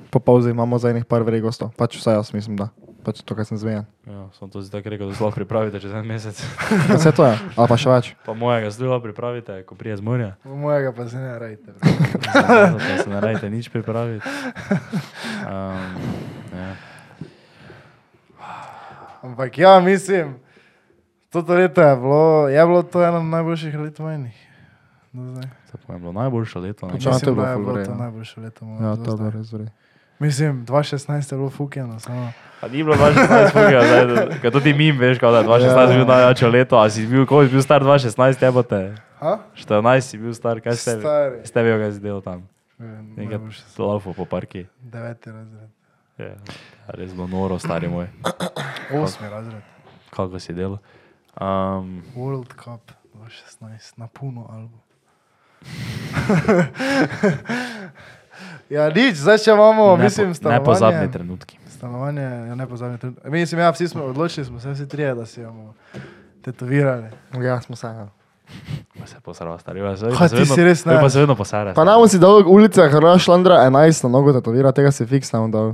[SPEAKER 3] Po pauzi imamo za enih par vrej gostov. Pač vsaj jaz mislim, da. Pač to, kar sem zmenjen.
[SPEAKER 2] Ja, sem to zdaj rekel, da zelo pripravite čez en mesec.
[SPEAKER 3] Vse to je, ali pa še več.
[SPEAKER 2] Pa mojega zdaj pripravite, ko prije z morja.
[SPEAKER 1] Po mojega pa se ne rajte.
[SPEAKER 2] Zato se ne rajte nič pripraviti. Um, ja.
[SPEAKER 1] Ampak ja, mislim, to leto je bilo, je bilo to eno najboljših let vojnih. Do zdaj.
[SPEAKER 2] To pa je bilo najboljše leto. ne.
[SPEAKER 3] Počasi. Ja, to je
[SPEAKER 1] Mislim, da
[SPEAKER 3] bilo
[SPEAKER 1] je
[SPEAKER 3] ful
[SPEAKER 1] bilo
[SPEAKER 3] v redu.
[SPEAKER 1] to najboljše leto. moje
[SPEAKER 3] Ja,
[SPEAKER 1] do
[SPEAKER 3] to je
[SPEAKER 1] zdaj.
[SPEAKER 3] bilo res vrej.
[SPEAKER 1] Mislim, 2016 je bilo fukjeno, samo.
[SPEAKER 2] Pa ni bilo 2016, fuga, zdaj, da- ker tudi mi veš, kao da je
[SPEAKER 3] Ja.
[SPEAKER 2] 2016 bil najjače leto, a si bil, koliko si bil star 2016, te bote.
[SPEAKER 1] Ha?
[SPEAKER 2] 14 si bil star, kaj ste vi?
[SPEAKER 1] Stari.
[SPEAKER 2] Ste vi, kaj si delal tam? Nekaj
[SPEAKER 1] Nekaj.
[SPEAKER 2] lafo po parki.
[SPEAKER 1] Deveti razred.
[SPEAKER 2] Ja, res bilo noro, stari moj.
[SPEAKER 1] Osmi razred.
[SPEAKER 2] kako si delal. Um,
[SPEAKER 1] World Cup 2016, na puno album. ja, nič, zdaj še imamo, mislim, stanovanje.
[SPEAKER 2] Nepozabni trenutki.
[SPEAKER 1] Stanovanje je nepozabni trenutek. Mislim, ja, vsi smo odločili, smo se vsi trije, da si jo bomo tetovirali.
[SPEAKER 3] Ja, smo se. ja.
[SPEAKER 2] Ma Se posrava, stari. Ja, se-
[SPEAKER 1] Ha,
[SPEAKER 2] se
[SPEAKER 1] ti
[SPEAKER 2] vedno-
[SPEAKER 1] si res
[SPEAKER 2] to je Pa
[SPEAKER 1] najjaš.
[SPEAKER 2] se vedno posara.
[SPEAKER 3] Pa nam si dal ulice, Hrvaš Landra 11 na nogo tatovira, tega si fiksno dal.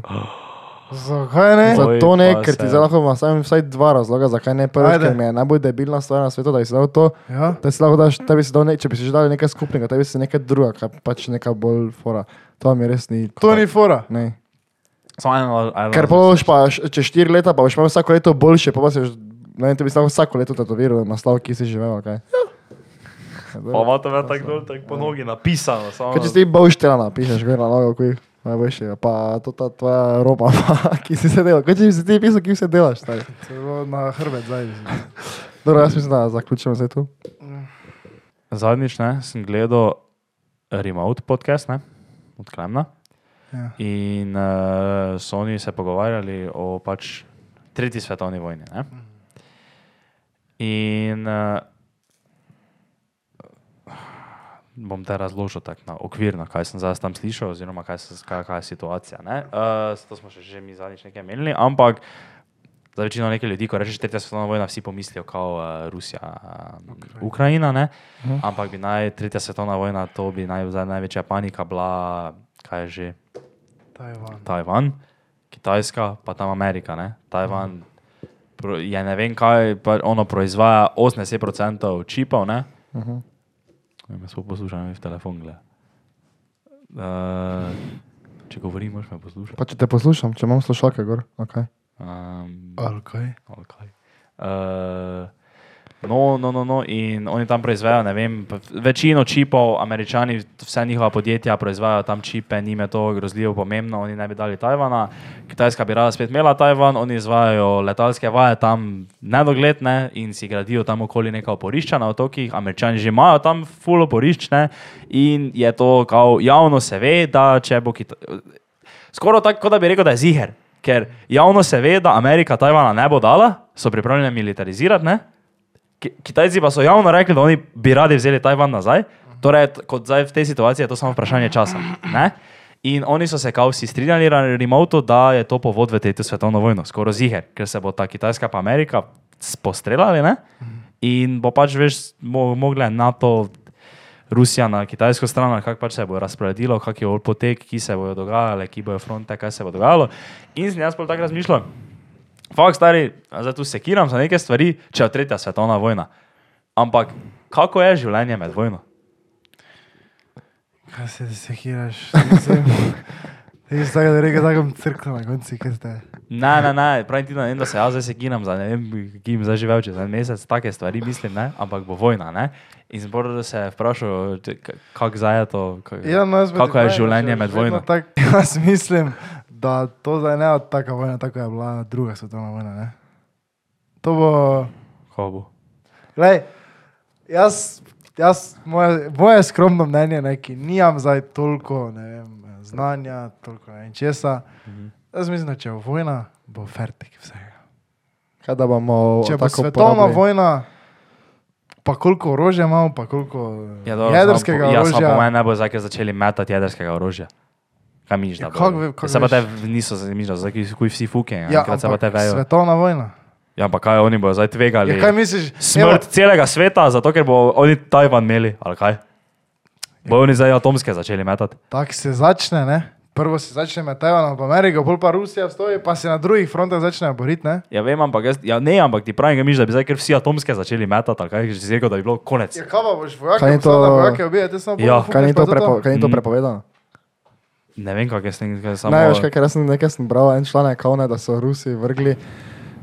[SPEAKER 1] Zakaj ne?
[SPEAKER 2] Za-
[SPEAKER 3] Zato ne,
[SPEAKER 2] pa
[SPEAKER 3] ker ti
[SPEAKER 2] se-
[SPEAKER 3] zdaj lahko imam samo vsaj dva razloga, zakaj ne prvi,
[SPEAKER 1] Ajde.
[SPEAKER 3] ker mi je najbolj debilna stvar na svetu, da si dal to.
[SPEAKER 1] Ja?
[SPEAKER 3] Da si lahko daš, da bi si dal, ne, če bi si že dal nekaj skupnega, da bi si nekaj drugega, kar pač neka bolj fora. To mi res ni.
[SPEAKER 1] To ni fora.
[SPEAKER 3] Ne.
[SPEAKER 2] Samo eno, eno.
[SPEAKER 3] Ker pa boš pa š- čez štiri leta, pa boš imel vsako leto boljše, pa pa si že, ne vem, te bi si lahko vsako leto tatoviral na slav, ki si živel,
[SPEAKER 1] Ja.
[SPEAKER 3] ali kaj.
[SPEAKER 2] Pa ima to ven tako dol, tako po nogi napisano. Samo,
[SPEAKER 3] Kaj če si ti boš telana, pišeš, gre na nogo, kuj. Najboljše, pa to ta tvoja roba, pa, ki si se delal. Kaj če bi si ti pisal, ki si se delaš? stari?
[SPEAKER 1] To je bilo na hrbet zdaj. mislim.
[SPEAKER 3] Dobro, jaz mislim, da zaključimo zdaj tu.
[SPEAKER 2] Zadnjič ne, sem gledal Remote podcast, ne, od Klemna.
[SPEAKER 1] Ja.
[SPEAKER 2] In uh, so oni se pogovarjali o pač tretji svetovni vojni. Ne? In uh, bom te razložil tako na okvirno, kaj sem zdaj tam slišal, oziroma kaj, se, kaj, kaj je situacija. Uh, to smo še, že mi zadnjič nekaj menili, ampak za večino nekaj ljudi, ko rečeš tretja svetovna vojna, vsi pomislijo kao uh, Rusija, uh, Ukrajina, ne? ampak bi naj tretja svetovna vojna, to bi naj, zdaj največja panika bila, kaj je že.
[SPEAKER 1] Tajvan.
[SPEAKER 2] Tajvan, Kitajska, pa tam Amerika. Ne? Tajvan pro, je ne vem kaj, pa ono proizvaja 80% čipov. Ne,
[SPEAKER 3] Uh -huh.
[SPEAKER 2] ne me smo poslušali v telefon. Uh, če govorim, moraš me poslušati.
[SPEAKER 3] Pa če te poslušam, če imam slušalke gor, ok.
[SPEAKER 2] Um,
[SPEAKER 1] Ali kaj?
[SPEAKER 2] ali kaj. Uh, No, no, no, no, in oni tam proizvajajo, ne vem, p- večino čipov, američani, vse njihova podjetja proizvajajo tam čipe, njim je to grozljivo pomembno, oni naj bi dali Tajvana, Kitajska bi rada spet imela Tajvan, oni izvajajo letalske vaje tam nedogledne in si gradijo tam okoli neka oporišča na otokih, američani že imajo tam full oporiščne in je to, kao javno se ve, da če bo Kitajska skoraj tako, kot da bi rekel, da je ziger. Ker javno se ve, da Amerika Tajvana ne bo dala, so pripravljeni militarizirati. Ne? Ki- Kitajci pa so javno rekli, da oni bi radi vzeli Tajvan nazaj. Torej, t- kot zdaj v tej situaciji je to samo vprašanje časa. Ne? In oni so se kao vsi strinjali na remotu, da je to povod v tretjo svetovno vojno, skoraj ziger, ker se bo ta Kitajska pa Amerika spostrelali ne? in bo pač več mo mogla NATO Rusija na kitajsko stran, ali kako pač se bo razporedilo, kak je potek, ki se bodo dogajale, ki bojo fronte, kaj se bo dogajalo. In sem jaz pa tako razmišljal, fakt stari, a zdaj tu sekiram za neke stvari, če je tretja svetovna vojna. Ampak kako je življenje med vojno?
[SPEAKER 1] Kaj se sekiraš? Ti si tako da rekel, tako crkva na konci, kaj ste.
[SPEAKER 2] Ne, ne, ne, pravim ti, da, ne vem, da se jaz zdaj sekiram za ne vem, ki jim zdaj živel čez en mesec, take stvari mislim, ne? ampak bo vojna. Ne? In zbor se je vprašal, te- k- kako zdaj je to, k-
[SPEAKER 1] Ja, no, jaz bi ti
[SPEAKER 2] kako je
[SPEAKER 1] pravil,
[SPEAKER 2] življenje
[SPEAKER 1] že
[SPEAKER 2] med
[SPEAKER 1] vedno
[SPEAKER 2] vojno.
[SPEAKER 1] Tak, jaz mislim, da to zdaj ne bo taka vojna, tako je bila druga svetovna vojna. Ne? To bo.
[SPEAKER 2] Kako bo?
[SPEAKER 1] Glej, jaz, jaz, moje, moje skromno mnenje, ne, ki nimam zdaj toliko ne vem, znanja, toliko ne vem česa. Jaz mislim, da če bo vojna, bo fertik vsega.
[SPEAKER 3] Kaj da bomo
[SPEAKER 1] Če bo
[SPEAKER 3] tako
[SPEAKER 1] svetovna
[SPEAKER 3] uporabili?
[SPEAKER 1] vojna, pa koliko orožja imamo, pa koliko eh,
[SPEAKER 2] Ja, dobro,
[SPEAKER 1] jedrskega
[SPEAKER 2] samo po- Ja, samo po
[SPEAKER 1] orožja.
[SPEAKER 2] meni ne bo zdaj, ker začeli metati jedrskega orožja. Kaj miš, da
[SPEAKER 1] Ja,
[SPEAKER 2] bo?
[SPEAKER 1] kako ve- kako
[SPEAKER 2] Se pa
[SPEAKER 1] veš?
[SPEAKER 2] te v- niso zanimivi, zdaj ki kuj vsi fuke, ja, se pa te
[SPEAKER 1] ampak
[SPEAKER 2] vejo.
[SPEAKER 1] svetovna vojna.
[SPEAKER 2] Ja, ampak kaj oni bodo zdaj tvegali?
[SPEAKER 1] Ja, kaj misliš?
[SPEAKER 2] Smrt celega sveta, zato ker bo oni Tajvan imeli, ali kaj? Bojo oni zdaj atomske začeli metati.
[SPEAKER 1] Tako se začne, ne? Prvo se začne med Tajvanom in Ameriko, pol pa Rusija vstoji, pa se na drugih frontah začnejo boriti, ne?
[SPEAKER 2] Ja, vem, ampak jaz, ja, ne, ampak ti pravim, miš, da bi zdaj ker vsi atomske začeli metati, ali kaj, že si rekel, da bi bilo konec.
[SPEAKER 1] Ja, kaj pa boš vojak,
[SPEAKER 3] Kaj ni to-
[SPEAKER 1] da vojake ubijete, samo
[SPEAKER 2] Ja.
[SPEAKER 1] pol
[SPEAKER 3] Kaj ni
[SPEAKER 1] fukaš, pa
[SPEAKER 3] to,
[SPEAKER 1] je
[SPEAKER 3] prepo, kaj ni to
[SPEAKER 2] Mm.
[SPEAKER 3] prepovedano?
[SPEAKER 2] Ne vem, kako je s tem, kaj samo...
[SPEAKER 3] Samo... Ne, veš, kaj, ker jaz sem nekaj sem bral, en članek, kao ne, da so Rusi vrgli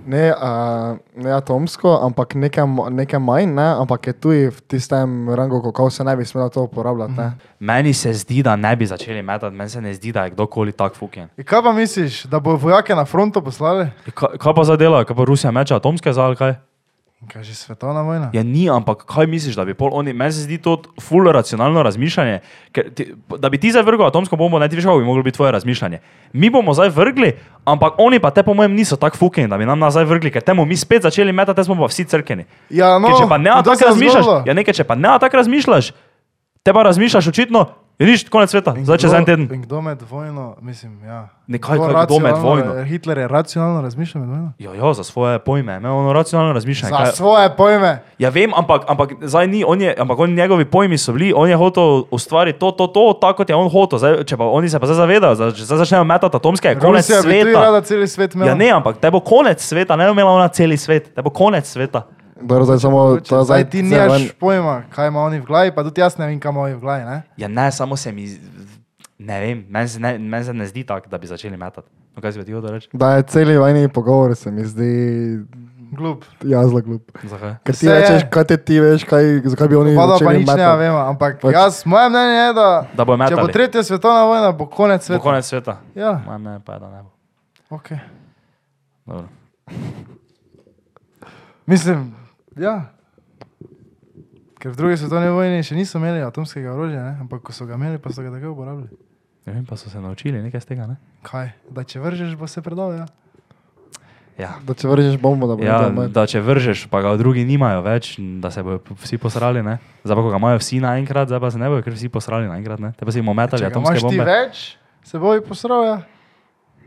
[SPEAKER 3] ne, a, ne atomsko, ampak nekaj, mo- nekaj manj, ne, ampak je tuji v tistem rangu, kako se ne bi smelo to uporabljati. Ne.
[SPEAKER 1] Mhm.
[SPEAKER 2] Meni se zdi, da ne bi začeli metati, meni se ne zdi, da je kdorkoli tak fuken.
[SPEAKER 1] Ja, Kaj pa misliš, da bo vojake na fronto poslali?
[SPEAKER 2] Kaj, kaj pa zdaj delajo, kaj pa Rusija meče atomske za ali kaj?
[SPEAKER 1] Kaj že svetovna vojna?
[SPEAKER 2] Ja, ni, ampak kaj misliš, da bi pol oni, meni se zdi to fully racionalno razmišljanje. ker Ti, da bi ti zdaj vrgel atomsko bombo, ne ti veš, kako bi moglo biti tvoje razmišljanje. Mi bomo zdaj vrgli, ampak oni pa te, po mojem, niso tako fucking, da bi nam nazaj vrgli, ker temu mi spet začeli metati, te smo pa vsi crkeni.
[SPEAKER 1] Ja,
[SPEAKER 2] ker če pa ne
[SPEAKER 1] in to se
[SPEAKER 2] tako
[SPEAKER 1] je
[SPEAKER 2] razmišljaš,
[SPEAKER 1] zgodilo.
[SPEAKER 2] ja, nekaj, če pa ne tako razmišljaš, te pa razmišljaš očitno, je nič, konec sveta,
[SPEAKER 1] In
[SPEAKER 2] zdaj čez
[SPEAKER 1] kdo-
[SPEAKER 2] en teden.
[SPEAKER 1] In kdo med vojno, mislim, ja.
[SPEAKER 2] Nekaj, kaj kdo med
[SPEAKER 1] racionalno-
[SPEAKER 2] vojno?
[SPEAKER 1] Hitler je racionalno razmišljal med vojno.
[SPEAKER 2] Ja, ja, za svoje pojme, ima ono racionalno razmišljanje.
[SPEAKER 1] Za
[SPEAKER 2] Ja, kaj-
[SPEAKER 1] svoje pojme.
[SPEAKER 2] Ja, vem, ampak, ampak zdaj ni, on je, ampak on, njegovi pojmi so bili, on je hotel ustvariti to, to, to, tako kot je on hotel. Zdaj, če pa oni se pa zdaj zavedajo, da če zdaj začnejo metati atomske, je Ja, konec
[SPEAKER 1] Rusija bi tudi
[SPEAKER 2] sveta.
[SPEAKER 1] rada celi svet imela.
[SPEAKER 2] Ja, ne, ampak te bo konec sveta, ne bo imela ona celi svet, te bo konec sveta.
[SPEAKER 3] Dobro, zdaj samo
[SPEAKER 1] Če
[SPEAKER 3] to
[SPEAKER 1] zdaj ti
[SPEAKER 3] zdaj ven-
[SPEAKER 1] nimaš pojma, kaj ima oni v glavi, pa tudi jaz ne vem, kaj ima oni v glavi. Ne?
[SPEAKER 2] Ja, ne, samo se mi, z- ne vem, meni se ne, men se ne zdi tako, da bi začeli metati. No, kaj si pa ti hotel reči?
[SPEAKER 3] Da je celi vojni pogovor, se mi zdi
[SPEAKER 1] Glup.
[SPEAKER 3] jazla glup.
[SPEAKER 2] Zakaj?
[SPEAKER 3] Ker
[SPEAKER 1] Se
[SPEAKER 3] ti
[SPEAKER 1] je.
[SPEAKER 3] rečeš, kaj te ti veš, kaj, zakaj bi oni
[SPEAKER 1] Pa da pa
[SPEAKER 3] začeli
[SPEAKER 1] nič ne
[SPEAKER 3] metati.
[SPEAKER 1] vemo, ampak
[SPEAKER 3] Pač-
[SPEAKER 1] pač, jaz, moje mnenje je, da,
[SPEAKER 2] Da bojo
[SPEAKER 1] če bo
[SPEAKER 2] metali.
[SPEAKER 1] tretja svetovna vojna, bo konec
[SPEAKER 2] Bo
[SPEAKER 1] sveta.
[SPEAKER 2] konec sveta.
[SPEAKER 1] Ja,
[SPEAKER 2] Ma, ne, pa je, da ne bo.
[SPEAKER 1] okay.
[SPEAKER 2] Dobro.
[SPEAKER 1] Mislim, ja. Ker v drugi svetovni vojni še niso imeli atomskega orožja, ne? ampak ko so ga imeli, pa so ga takoj uporabljali.
[SPEAKER 2] Ne vem, pa so se naučili nekaj z tega, ne?
[SPEAKER 1] Kaj? Da če vržeš, bo se predal. Ja.
[SPEAKER 2] Ja.
[SPEAKER 3] Da če vržeš bombo, da bo
[SPEAKER 2] Ja,
[SPEAKER 3] nekaj manj.
[SPEAKER 2] da če vržeš, pa ga drugi nimajo več, n- da se bodo p- vsi posrali. Ne? Zdaj pa ko ga imajo vsi naenkrat, zdaj pa se ne bojo, ker vsi posrali naenkrat. Ne? Te pa si jim ometali
[SPEAKER 1] Če ga
[SPEAKER 2] atomske
[SPEAKER 1] imaš ti
[SPEAKER 2] bombe.
[SPEAKER 1] več, se boji posral. Ja.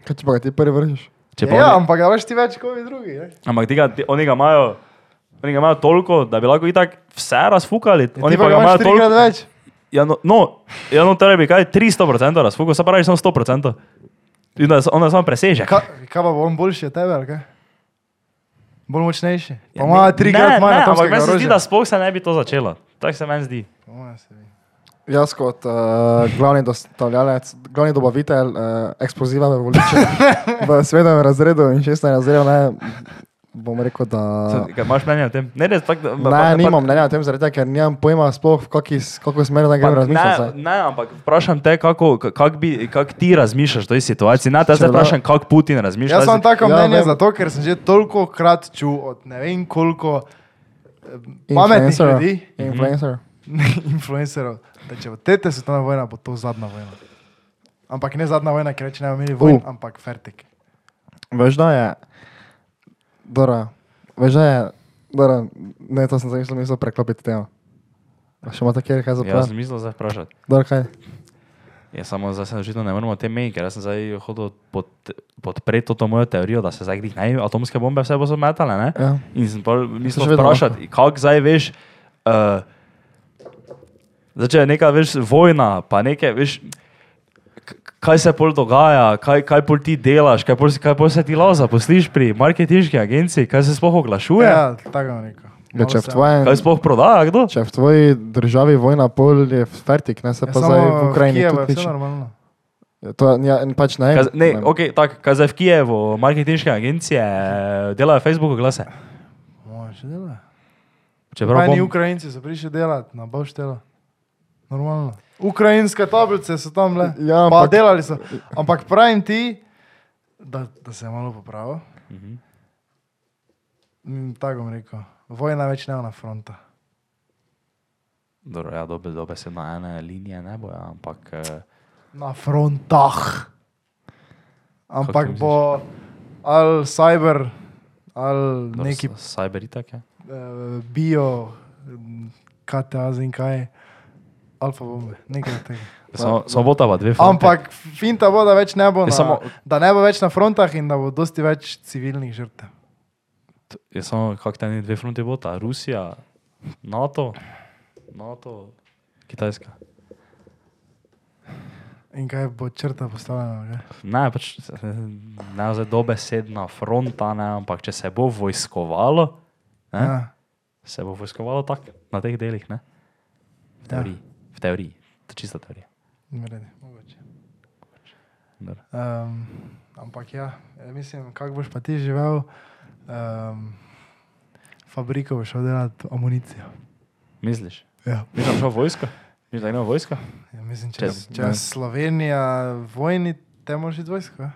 [SPEAKER 3] Kaj če pa ga ti prvi vržeš?
[SPEAKER 2] Če pa
[SPEAKER 1] Ja,
[SPEAKER 2] oni,
[SPEAKER 1] ampak ga imaš ti več kot vi drugi. Ne?
[SPEAKER 2] ampak tega, ti, oni, ga imajo, oni ga imajo toliko, da bi lahko itak vse razfukali.
[SPEAKER 1] Ja,
[SPEAKER 2] oni
[SPEAKER 1] ti pa ga imaš trikrat več.
[SPEAKER 2] Ja, no, no, ja, no torej bi kaj 300% razfukal, se pravi samo 100%. In da se- onda samo preseže.
[SPEAKER 1] Ka, kaj pa bo on boljši od tebe, ali kaj? Bolj močnejši. Pa
[SPEAKER 2] Ja,
[SPEAKER 1] ima
[SPEAKER 2] ne- ne,
[SPEAKER 1] trikrat manj
[SPEAKER 2] ne, Ampak
[SPEAKER 1] atomskega
[SPEAKER 2] meni se zdi,
[SPEAKER 1] orožja.
[SPEAKER 2] da sploh se ne bi to začelo. Tako se meni zdi.
[SPEAKER 1] Po moje se zdi.
[SPEAKER 3] Jaz kot uh, glavni dostavljalec, glavni eh, dobavitelj uh, eksploziva v voliče v svetovnem razredu in šestem razredu, ne, bom rekel, da...
[SPEAKER 2] Kaj imaš mnenje o tem? Ne, res, tako, da- pa- pa-
[SPEAKER 3] Ne,
[SPEAKER 2] pa-
[SPEAKER 3] nimam mnenja o tem, zaradi tega, ker nimam pojma sploh, v kaki s- kako smer naj grem
[SPEAKER 2] Pa Ne,
[SPEAKER 3] razmišljati.
[SPEAKER 2] ne, ampak vprašam te, kako kak bi, kak ti razmišljaš o tej situaciji. Ne, te zdaj
[SPEAKER 3] Če da-
[SPEAKER 2] vprašam, kako Putin
[SPEAKER 1] Jaz
[SPEAKER 2] razmišlja.
[SPEAKER 1] sem
[SPEAKER 2] Zdaj-
[SPEAKER 1] tako
[SPEAKER 3] Ja,
[SPEAKER 1] mnenje
[SPEAKER 3] vem.
[SPEAKER 1] zato, ker sem že toliko krat čul od ne vem koliko eh, pametnih
[SPEAKER 3] Influencer.
[SPEAKER 1] ljudi,
[SPEAKER 3] Influencer.
[SPEAKER 2] Mhm.
[SPEAKER 1] influencerov, da če bo tete svetovna vojna, bo to zadnja vojna. Ampak ne zadnja vojna, ker reče ne bomo imeli vojn,
[SPEAKER 3] U.
[SPEAKER 1] ampak fertik.
[SPEAKER 3] Veš, da je, Dora, veš, da je, Dora, ne, to sem zamislil, mislil preklopiti temo. A še imate kjer kaj za
[SPEAKER 2] Jaz
[SPEAKER 3] plat?
[SPEAKER 2] sem mislil zdaj vprašati.
[SPEAKER 3] Dora, kaj?
[SPEAKER 2] Ja, samo zdaj se očitno ne moremo o tem meniti, ker jaz sem zdaj hodil pod, podpreti to mojo teorijo, da se zdaj glih naj atomske bombe vse bo zametale. ne?
[SPEAKER 3] Ja.
[SPEAKER 2] In sem pol mislil
[SPEAKER 3] še vedno no.
[SPEAKER 2] vprašati, kako zdaj veš. Uh, Zdaj, če je neka veš, vojna, pa nekaj, veš, k- kaj se pol dogaja, kaj, kaj pol ti delaš, kaj pol, si- kaj pol se ti laza, posliš pri marketinški agenciji, kaj se sploh oglašuje, ja.
[SPEAKER 1] Ja, tako bom rekel.
[SPEAKER 3] Ja,
[SPEAKER 1] Malo
[SPEAKER 3] če, v
[SPEAKER 1] se-
[SPEAKER 3] tvojem,
[SPEAKER 2] kaj sploh prodaja, kdo?
[SPEAKER 3] če v tvoji državi vojna pol je fertik, ne se
[SPEAKER 1] Ja,
[SPEAKER 3] pa
[SPEAKER 1] samo
[SPEAKER 3] zdaj v Ukrajini.
[SPEAKER 1] Kijevu je
[SPEAKER 3] tudi
[SPEAKER 1] vse
[SPEAKER 3] nič-
[SPEAKER 1] normalno.
[SPEAKER 3] To je- ja, en pač ne.
[SPEAKER 2] Kaj, z- ne,
[SPEAKER 3] ne.
[SPEAKER 2] ok, tako, kaj zdaj v Kijevu, marketinške agencije delajo Facebook oglase.
[SPEAKER 1] Moje še dela.
[SPEAKER 2] Čeprav
[SPEAKER 1] Pravni
[SPEAKER 2] Ja, bom,
[SPEAKER 1] Ukrajinci so prišli delati, na boš dela. Normalno. Ukrajinske tablice so tam le.
[SPEAKER 3] Ja,
[SPEAKER 1] Pa
[SPEAKER 3] ampak-
[SPEAKER 1] delali so. Ampak pravim ti, da, da se je malo popravil.
[SPEAKER 2] Mhm.
[SPEAKER 1] Mm, Tako bom rekel. Vojna več ne bo na fronta.
[SPEAKER 2] dobro, ja, dobe, dobe se na ene linije ne bojo, ampak eh,
[SPEAKER 1] Na frontah. Ampak
[SPEAKER 2] misliš?
[SPEAKER 1] bo ali cyber, ali
[SPEAKER 2] dobro,
[SPEAKER 1] neki
[SPEAKER 2] s- cyber ja. itak je.
[SPEAKER 1] eh, bio, mm, KTA z in kaj, alfa bombe, nekaj od tega.
[SPEAKER 2] Samo, samo bo ta pa dve fronti.
[SPEAKER 1] Ampak finta bo, da, več ne bo na,
[SPEAKER 2] Je samo-
[SPEAKER 1] samo... da ne bo več na frontah in da bo dosti več civilnih žrtev.
[SPEAKER 2] Je samo kak te ne dve fronti bo ta, Rusija, NATO, NATO, Kitajska.
[SPEAKER 1] In kaj bo črta postavljena? kaj?
[SPEAKER 2] Ne, pač ne za dobesedna fronta, ne, ampak če se bo vojskovalo, ne, ja.
[SPEAKER 1] Ja.
[SPEAKER 2] se bo vojskovalo tako na teh delih, ne? V teoriji, ja. v teoriji, to je čista teorija.
[SPEAKER 1] Ja, v redu, mogoče.
[SPEAKER 2] Dobro.
[SPEAKER 1] Um, ampak ja, eh, mislim, kako boš pa ti živel, um, fabriko boš šel delati amunicijo.
[SPEAKER 2] Misliš?
[SPEAKER 1] Ja.
[SPEAKER 2] Misliš, da ima vojska? Misliš, da ima vojska?
[SPEAKER 1] Ja, mislim, če,
[SPEAKER 2] Čez-
[SPEAKER 1] če, če je Slovenija vojni, te moraš iti vojsko. ja.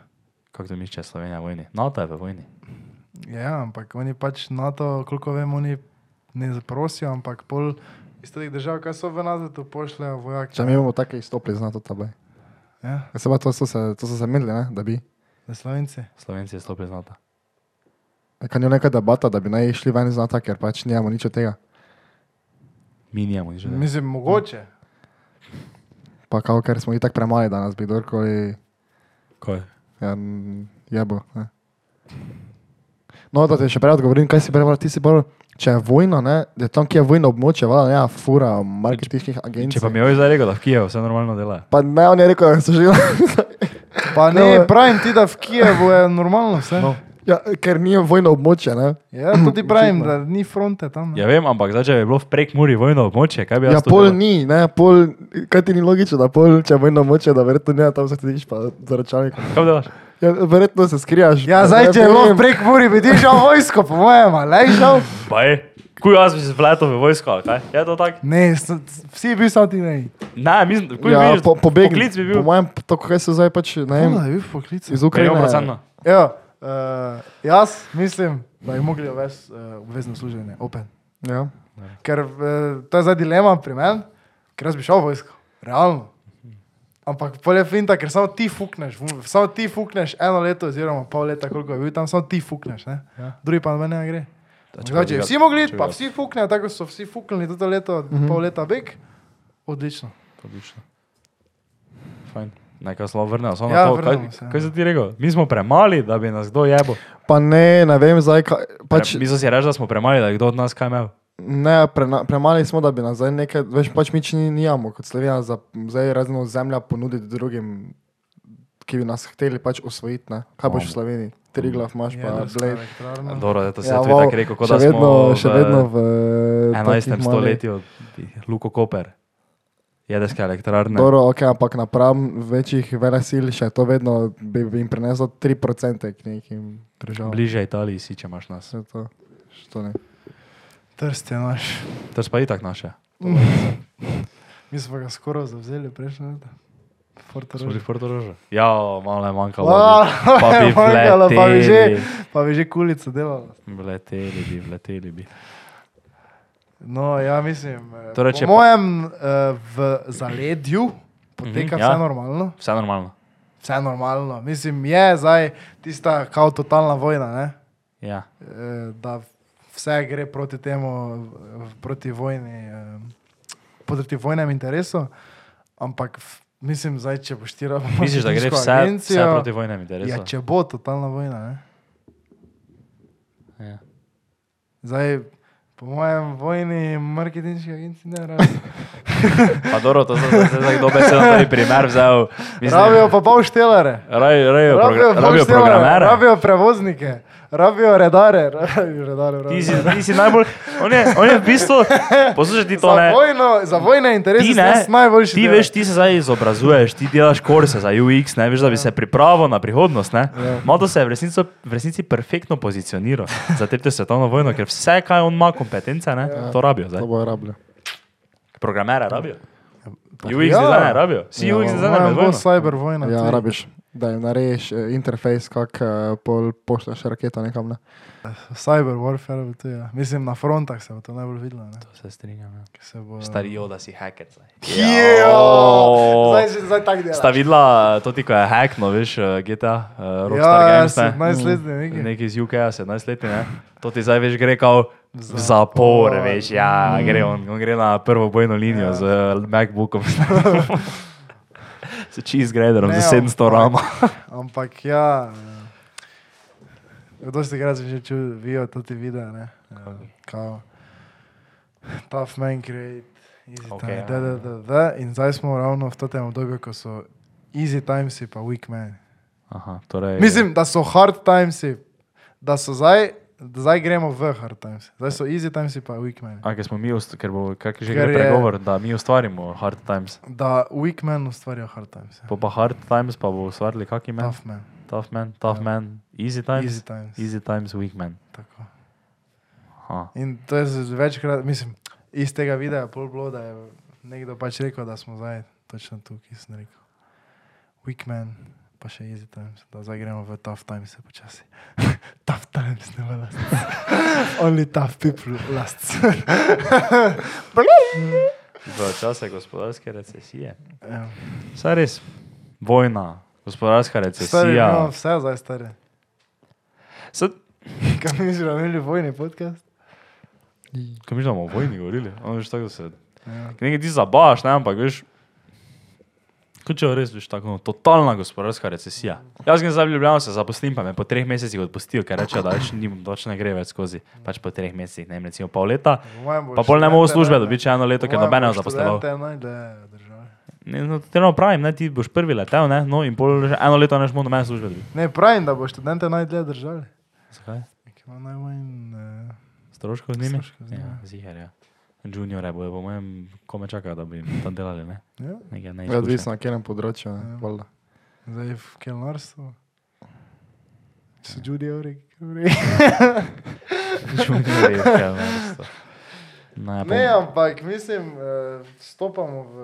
[SPEAKER 2] Kako to misliš, če je Slovenija v vojni? NATO je v vojni.
[SPEAKER 1] Ja, ampak oni pač NATO, koliko vem, oni ne zaprosijo, ampak pol iz teh držav, kaj so v NATO, to pošljejo vojake.
[SPEAKER 3] Če mi bomo tako izstopili, znato
[SPEAKER 1] Ja,
[SPEAKER 3] tabaj. Ja, se pa to so se, to so se menili, ne, da bi.
[SPEAKER 1] za Slovenci.
[SPEAKER 2] Slovenci je stopil iz NATO.
[SPEAKER 3] Ja, Kaj je neka debata, da bi naj šli ven iz NATO, ker pač nimamo nič od tega.
[SPEAKER 2] Mi nijamo nič. več.
[SPEAKER 3] No.
[SPEAKER 1] Mislim, mogoče.
[SPEAKER 3] Pa kao, ker smo itak premali danes, bi kdorkoli
[SPEAKER 2] Kaj?
[SPEAKER 3] ja, jebo. Ne. No, da ti še prej odgovorim, kaj si prej rekel, ti si bolj, če je vojno, ne, da je tam, kjer je vojno območje, vala, ja, fura marketinških agencij.
[SPEAKER 2] Če pa mi je zdaj rekel, da v Kijevu vse normalno dela.
[SPEAKER 3] pa ne, on je rekel, da so že...
[SPEAKER 1] Pa
[SPEAKER 3] No,
[SPEAKER 1] ne,
[SPEAKER 3] eh.
[SPEAKER 1] pravim ti, da v Kijevu je normalno vse. No.
[SPEAKER 2] No.
[SPEAKER 3] ja, ker ni vojno območje, ne.
[SPEAKER 1] Ja, tudi pravim,
[SPEAKER 3] Očitno.
[SPEAKER 1] da ni fronte tam. ne.
[SPEAKER 2] Ja, vem, ampak zdaj, če bi bilo v prekmuri vojno območje, kaj bi
[SPEAKER 3] Ja,
[SPEAKER 2] jaz
[SPEAKER 3] pol
[SPEAKER 2] delal?
[SPEAKER 3] ni, ne, pol, kaj ti ni logično, da pol, če je vojno območje, da verjetno ne, tam se tiš pa za računalnikom.
[SPEAKER 2] Kaj bi delaš?
[SPEAKER 3] Ja, verjetno se skrivaš.
[SPEAKER 1] Ja, zdaj, če je
[SPEAKER 3] vem.
[SPEAKER 1] bilo prek Muri, bi ti šel v vojsko, po mojem, ali šel?
[SPEAKER 2] Baj, kuj jaz bi se zvletel v vojsko, ali kaj? Je to tako?
[SPEAKER 1] Ne, s- s- vsi bi samo ti ne.
[SPEAKER 2] Ne, mislim, kuj bi
[SPEAKER 3] Ja,
[SPEAKER 2] bil.
[SPEAKER 3] po, pobegni.
[SPEAKER 2] Poklic bi bil.
[SPEAKER 3] Po mojem, to, kaj se zdaj pač, ne vem,
[SPEAKER 1] Ja, bi poklical.
[SPEAKER 3] iz Ukrajine.
[SPEAKER 2] Milijon
[SPEAKER 1] Ja, uh, jaz mislim, da bi mogli uvesti uh, obvezno služenje, open.
[SPEAKER 3] Ja.
[SPEAKER 1] Ker uh, to je zdaj dilema pri meni, ker jaz bi šel v vojsko, realno. Ampak polje finta, ker samo ti fukneš, v- samo ti fukneš eno leto, oziroma pol leta, koliko je bil tam, samo ti fukneš, ne?
[SPEAKER 2] Ja.
[SPEAKER 1] drugi pa noben ne gre.
[SPEAKER 2] Da,
[SPEAKER 1] Zdaj,
[SPEAKER 2] če bi
[SPEAKER 1] če bi
[SPEAKER 2] ga-
[SPEAKER 1] vsi mogli, iti,
[SPEAKER 2] če bi
[SPEAKER 1] pa
[SPEAKER 2] ga-
[SPEAKER 1] vsi fuknejo, tako so vsi fuknili to leto, mm
[SPEAKER 3] Mhm.
[SPEAKER 1] -hmm. pol leta bek, odlično.
[SPEAKER 2] Odlično. Fajn. Nekaj slabo vrnemo, samo
[SPEAKER 1] Ja,
[SPEAKER 2] na to.
[SPEAKER 1] vrnemo
[SPEAKER 2] Kaj,
[SPEAKER 1] se, ja.
[SPEAKER 2] kaj si ti rekel? Mi smo premali, da bi nas kdo jebo.
[SPEAKER 3] Pa ne, ne vem, zdaj, kaj,
[SPEAKER 2] Pač...
[SPEAKER 3] pač,
[SPEAKER 2] Mislim si reči, da smo premali, da je kdo od nas kaj imel.
[SPEAKER 3] ne, prena, premali smo, da bi nas zdaj nekaj, veš, pač mi če ni- nijamo kot Slovenija, za, zdaj razno zemlja ponuditi drugim, ki bi nas hteli pač osvojiti, ne. Kaj boš v Sloveniji? Tri glav imaš pa
[SPEAKER 1] Jedrska
[SPEAKER 3] blej.
[SPEAKER 1] elektrarna.
[SPEAKER 2] Dobro, da Ja, to si
[SPEAKER 3] Ja,
[SPEAKER 2] ja, tudi
[SPEAKER 3] wow,
[SPEAKER 2] tako rekel, kot
[SPEAKER 3] še
[SPEAKER 2] da smo
[SPEAKER 3] vedno, še vedno v
[SPEAKER 2] v 11.
[SPEAKER 3] takih malih-
[SPEAKER 2] stoletju, Luko Koper. jedrske elektrarne.
[SPEAKER 3] Dobro, okay, ampak napram večjih velesil še to vedno bi, bi jim prineslo 3% k nekim
[SPEAKER 1] no.
[SPEAKER 3] državam.
[SPEAKER 2] Bliže Italiji si, če imaš nas.
[SPEAKER 3] Vse to. Što ne.
[SPEAKER 1] Trst je naš.
[SPEAKER 2] To je pa itak naše.
[SPEAKER 1] Mi smo ga skoraj zavzeli prejšnji leto. Forte
[SPEAKER 2] Smo bili
[SPEAKER 1] Roža.
[SPEAKER 2] fotorožo. Ja, malo je manjkalo.
[SPEAKER 1] Wow,
[SPEAKER 2] bi- Pa bi
[SPEAKER 1] manjkalo, pa bi že-
[SPEAKER 2] vleteli.
[SPEAKER 1] Pa bi že kulico delala.
[SPEAKER 2] Vleteli bi, vleteli bi.
[SPEAKER 1] No, ja mislim, eh,
[SPEAKER 2] Torej,
[SPEAKER 1] po
[SPEAKER 2] če pa-
[SPEAKER 1] mojem eh, v zaledju poteka
[SPEAKER 2] Mhm,
[SPEAKER 1] vse
[SPEAKER 2] ja.
[SPEAKER 1] normalno.
[SPEAKER 2] Vse normalno.
[SPEAKER 1] Vse normalno. Mislim, je zdaj tista kao totalna vojna, ne?
[SPEAKER 2] Ja.
[SPEAKER 1] Eh, da vse gre proti temu, eh, proti vojni, eh, proti vojnem interesu, ampak v- mislim, zdaj, če boš ti rabila
[SPEAKER 2] Misliš, da gre vse, vse proti vojnem interesu?
[SPEAKER 1] Ja, če bo totalna vojna, ne?
[SPEAKER 2] Ja.
[SPEAKER 1] Zdaj, po mojem vojni marketinški agenciji ne rabijo.
[SPEAKER 2] Pa dobro, to sem zdaj zdaj kdo besedno tudi primer vzel. Mislim,
[SPEAKER 1] Rabijo pa pol štelare.
[SPEAKER 2] Rabijo, rabijo, progra rabijo
[SPEAKER 1] polštelare,
[SPEAKER 2] programere.
[SPEAKER 1] rabijo prevoznike, rabijo redare, rabijo redare.
[SPEAKER 2] Ti si,
[SPEAKER 1] rabijo-
[SPEAKER 2] ti si najbolj, on je, on je v bistvu, poslušaj ti to
[SPEAKER 1] Za
[SPEAKER 2] ne.
[SPEAKER 1] vojno, za vojne interese
[SPEAKER 2] Ti,
[SPEAKER 1] si nas
[SPEAKER 2] ne,
[SPEAKER 1] najboljši.
[SPEAKER 2] ti
[SPEAKER 1] delar.
[SPEAKER 2] veš, ti se zdaj izobrazuješ, ti delaš kurse za UX, ne veš, da bi se pripravil na prihodnost. Ne?
[SPEAKER 1] Ja.
[SPEAKER 2] Mato se je v resnici, v resnici perfektno pozicioniral za tretjo svetovno vojno, ker vse, kaj on ima kompetence, ne,
[SPEAKER 1] Ja.
[SPEAKER 2] to rabijo. Zdaj.
[SPEAKER 3] To bojo rabljali.
[SPEAKER 2] Programere rabijo.
[SPEAKER 1] Pa
[SPEAKER 2] UX
[SPEAKER 1] ja.
[SPEAKER 2] zdaj ne rabijo. Vsi
[SPEAKER 3] Ja,
[SPEAKER 2] UX
[SPEAKER 1] Po
[SPEAKER 2] zdaj ne
[SPEAKER 1] mojem bo
[SPEAKER 2] rabijo.
[SPEAKER 1] cyber vojna.
[SPEAKER 3] Ja,
[SPEAKER 1] tudi.
[SPEAKER 3] rabiš, da jim narediš eh, interfejs, kak eh, pol pošleš raketo nekam. Ne?
[SPEAKER 1] Cyber warfare bo to, ja. Mislim, na frontah se bo to najbolj videlo. ne.
[SPEAKER 2] Se strinjam.
[SPEAKER 1] Ker se Bo...
[SPEAKER 2] Starijo, da si hacker. zdaj. Ja.
[SPEAKER 1] Jeo! Zdaj, že- zdaj tak delaš.
[SPEAKER 2] Sta videla to, ti, ko je hackno, veš, eh, GTA, uh, Rockstar
[SPEAKER 1] ja,
[SPEAKER 2] Games, ne? Mm.
[SPEAKER 1] 17 let nekaj.
[SPEAKER 2] Neki iz UK-ja, 17 let, ne? To ti zdaj veš, gre kao v zapor,
[SPEAKER 1] Zapor.
[SPEAKER 2] veš, ja, gre on, on gre na prvo bojno
[SPEAKER 1] Ja.
[SPEAKER 2] linijo ja. z eh, MacBookom. S cheesegraderom
[SPEAKER 1] Ne,
[SPEAKER 2] za 700 rama.
[SPEAKER 1] ampak- Ampak ja, eh, dosti krat sem že čutil, vijo tudi videa, ne. eh, Kao, tough man create, easy
[SPEAKER 2] Ok,
[SPEAKER 1] time,
[SPEAKER 2] ja.
[SPEAKER 1] da, da, da, da. In zdaj smo ravno v tem obdobju, ko so easy timesi pa weak man.
[SPEAKER 2] Aha, torej,
[SPEAKER 1] Mislim, da so hard timesi, da so zdaj, da zdaj gremo v hard times. Zdaj so easy timesi pa weak man.
[SPEAKER 2] A, ker smo mi, ust- ker bo, kak je že
[SPEAKER 1] Ker
[SPEAKER 2] gre
[SPEAKER 1] je-
[SPEAKER 2] pregovor, da mi ustvarimo hard times.
[SPEAKER 1] Da weak man ustvarja hard times. ja.
[SPEAKER 2] Po pa hard times pa bo ustvarili kaki men.
[SPEAKER 1] Tough man,
[SPEAKER 2] Tough man, tough
[SPEAKER 1] Ja.
[SPEAKER 2] man, easy times.
[SPEAKER 1] easy times.
[SPEAKER 2] Easy times, weak man.
[SPEAKER 1] Tako.
[SPEAKER 2] Aha.
[SPEAKER 1] In to je z- večkrat, mislim, iz tega videa je pol bilo, da je nekdo pač rekel, da smo zdaj točno tukaj, sem rekel. Weekman, pa še easy times, da zdaj gremo v tough times, počasi. tough times, ne velas. Only tough people lasts.
[SPEAKER 2] V čase gospodarske recesije.
[SPEAKER 1] Ja.
[SPEAKER 2] Saj res, vojna,
[SPEAKER 1] Stari,
[SPEAKER 2] gospodarska
[SPEAKER 1] no,
[SPEAKER 2] recesija.
[SPEAKER 1] vse zdaj stare.
[SPEAKER 2] Sad,
[SPEAKER 1] Kaj mi že imeli vojni podcast?
[SPEAKER 2] ko mi že bomo o vojni govorili, ono veš tako da se.
[SPEAKER 1] Ja.
[SPEAKER 2] Nekaj ti zabaš, ne, ampak veš. Kot če res veš tako, no, totalna gospodarska recesija. Jaz grem zdaj v Ljubljano, se zaposlim, pa me po treh mesecih odpustijo, ker rečejo, da več ni, več ne gre več skozi. Pač po treh mesecih, ne vem, recimo pol leta.
[SPEAKER 1] Po mojem bo
[SPEAKER 2] Pa pol ne mogo
[SPEAKER 1] študente
[SPEAKER 2] službe
[SPEAKER 1] najde.
[SPEAKER 2] dobiti še eno leto,
[SPEAKER 1] Po
[SPEAKER 2] ker
[SPEAKER 1] mojem
[SPEAKER 2] nobene
[SPEAKER 1] bo
[SPEAKER 2] ne zaposloval.
[SPEAKER 1] študente najde država.
[SPEAKER 2] Ne, no, te no pravim, ne, ti boš prvi letel, ne, no in pol že eno leto ne šmo nobene službe dobiti.
[SPEAKER 1] Ne, pravim, da bo študente najdlje držali.
[SPEAKER 2] Zakaj?
[SPEAKER 1] Ker ima najmanj... Uh,
[SPEAKER 2] Stroško z njimi?
[SPEAKER 1] Stroškov z njimi.
[SPEAKER 2] Ja, zihar, ja. Juniore bojo, po mojem, kome čakajo, da bi jim tam delali, ne?
[SPEAKER 1] ja.
[SPEAKER 2] Nekaj
[SPEAKER 3] Ja,
[SPEAKER 2] neizkušenj.
[SPEAKER 3] Odvisno na katerem področju.
[SPEAKER 1] Ja.
[SPEAKER 3] ne, valjda.
[SPEAKER 1] Zdaj v kelnarstvu.
[SPEAKER 2] Ja.
[SPEAKER 1] So Judy Oreg.
[SPEAKER 2] Juniorji v kelnerstvu. Ne,
[SPEAKER 1] Ne, ja.
[SPEAKER 2] pa-
[SPEAKER 1] ampak mislim, eh, stopamo v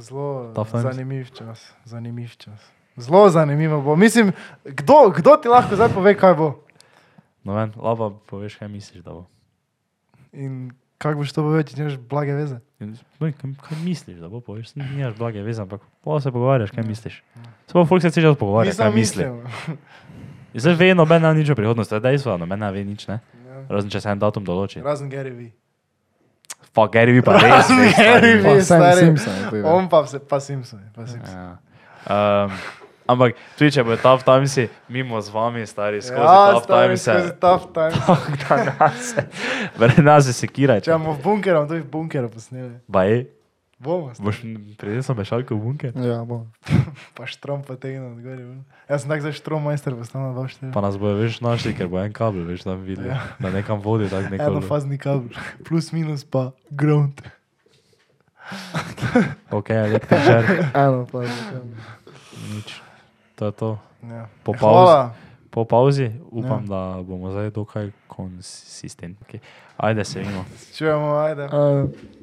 [SPEAKER 1] zelo
[SPEAKER 2] Tough times.
[SPEAKER 1] zanimiv čas. Zanimiv čas. Zelo zanimivo bo. Mislim, kdo, kdo ti lahko zdaj pove, kaj bo
[SPEAKER 2] No, ven, lava, poveš, kaj misliš, da bo.
[SPEAKER 1] in kako boš to povedal, če imaš blage veze.
[SPEAKER 2] In s- no, in Kaj, kaj misliš, da bo, poveš, saj nimaš blage veze, ampak pa se pogovarjaš,
[SPEAKER 1] Ja.
[SPEAKER 2] kaj misliš. Samo folk se ceče pogovarjati, kaj misli. In Zdaj ve, noben ne ve nič o prihodnosti, to je dejstvo, noben ne ve nič, ne?
[SPEAKER 1] Ja.
[SPEAKER 2] Razen če se en datum določi.
[SPEAKER 1] Razen Gary V.
[SPEAKER 2] Fuck, Gary, vi pa res. veš,
[SPEAKER 1] Gary Vee.
[SPEAKER 2] stari,
[SPEAKER 3] Pa Sam
[SPEAKER 1] stari.
[SPEAKER 3] Simpson je bil.
[SPEAKER 1] On pa, vse- pa Simpson. Pa Simpson.
[SPEAKER 2] Ja. Um, ampak tudi če bo ta v tamsi, mimo z vami, stari, skozi
[SPEAKER 1] Ja,
[SPEAKER 2] ja, ta v
[SPEAKER 1] stari,
[SPEAKER 2] tamsi.
[SPEAKER 1] skozi tough times.
[SPEAKER 2] Verjetno nas je sekiraj.
[SPEAKER 1] Če bomo v bunkeru, bomo tudi v bunkeru posneli.
[SPEAKER 2] Baj,
[SPEAKER 1] Bomo. stari.
[SPEAKER 2] boš prinesel mešalko v bunker,
[SPEAKER 3] Ja, bo.
[SPEAKER 1] Pa štrom potegnil od gori. ven. Jaz sem tak za štrom majster, pa stano dva štiri.
[SPEAKER 2] pa nas bojo več našli, ker bo en kabel več tam videl,
[SPEAKER 1] Ja.
[SPEAKER 2] ja. da nekam vodi tako neko.
[SPEAKER 1] Enofazni kabel, plus minus pa ground.
[SPEAKER 2] ok, električar,
[SPEAKER 3] Eno, pa že.
[SPEAKER 2] nič. To je to.
[SPEAKER 1] Ja.
[SPEAKER 2] Po
[SPEAKER 1] Ja, Hvala.
[SPEAKER 2] Po pauzi upam,
[SPEAKER 1] Ja.
[SPEAKER 2] da bomo zdaj dokaj konsistentni. Ajde se vidimo.
[SPEAKER 1] Čujemo, ajde.
[SPEAKER 3] Uh,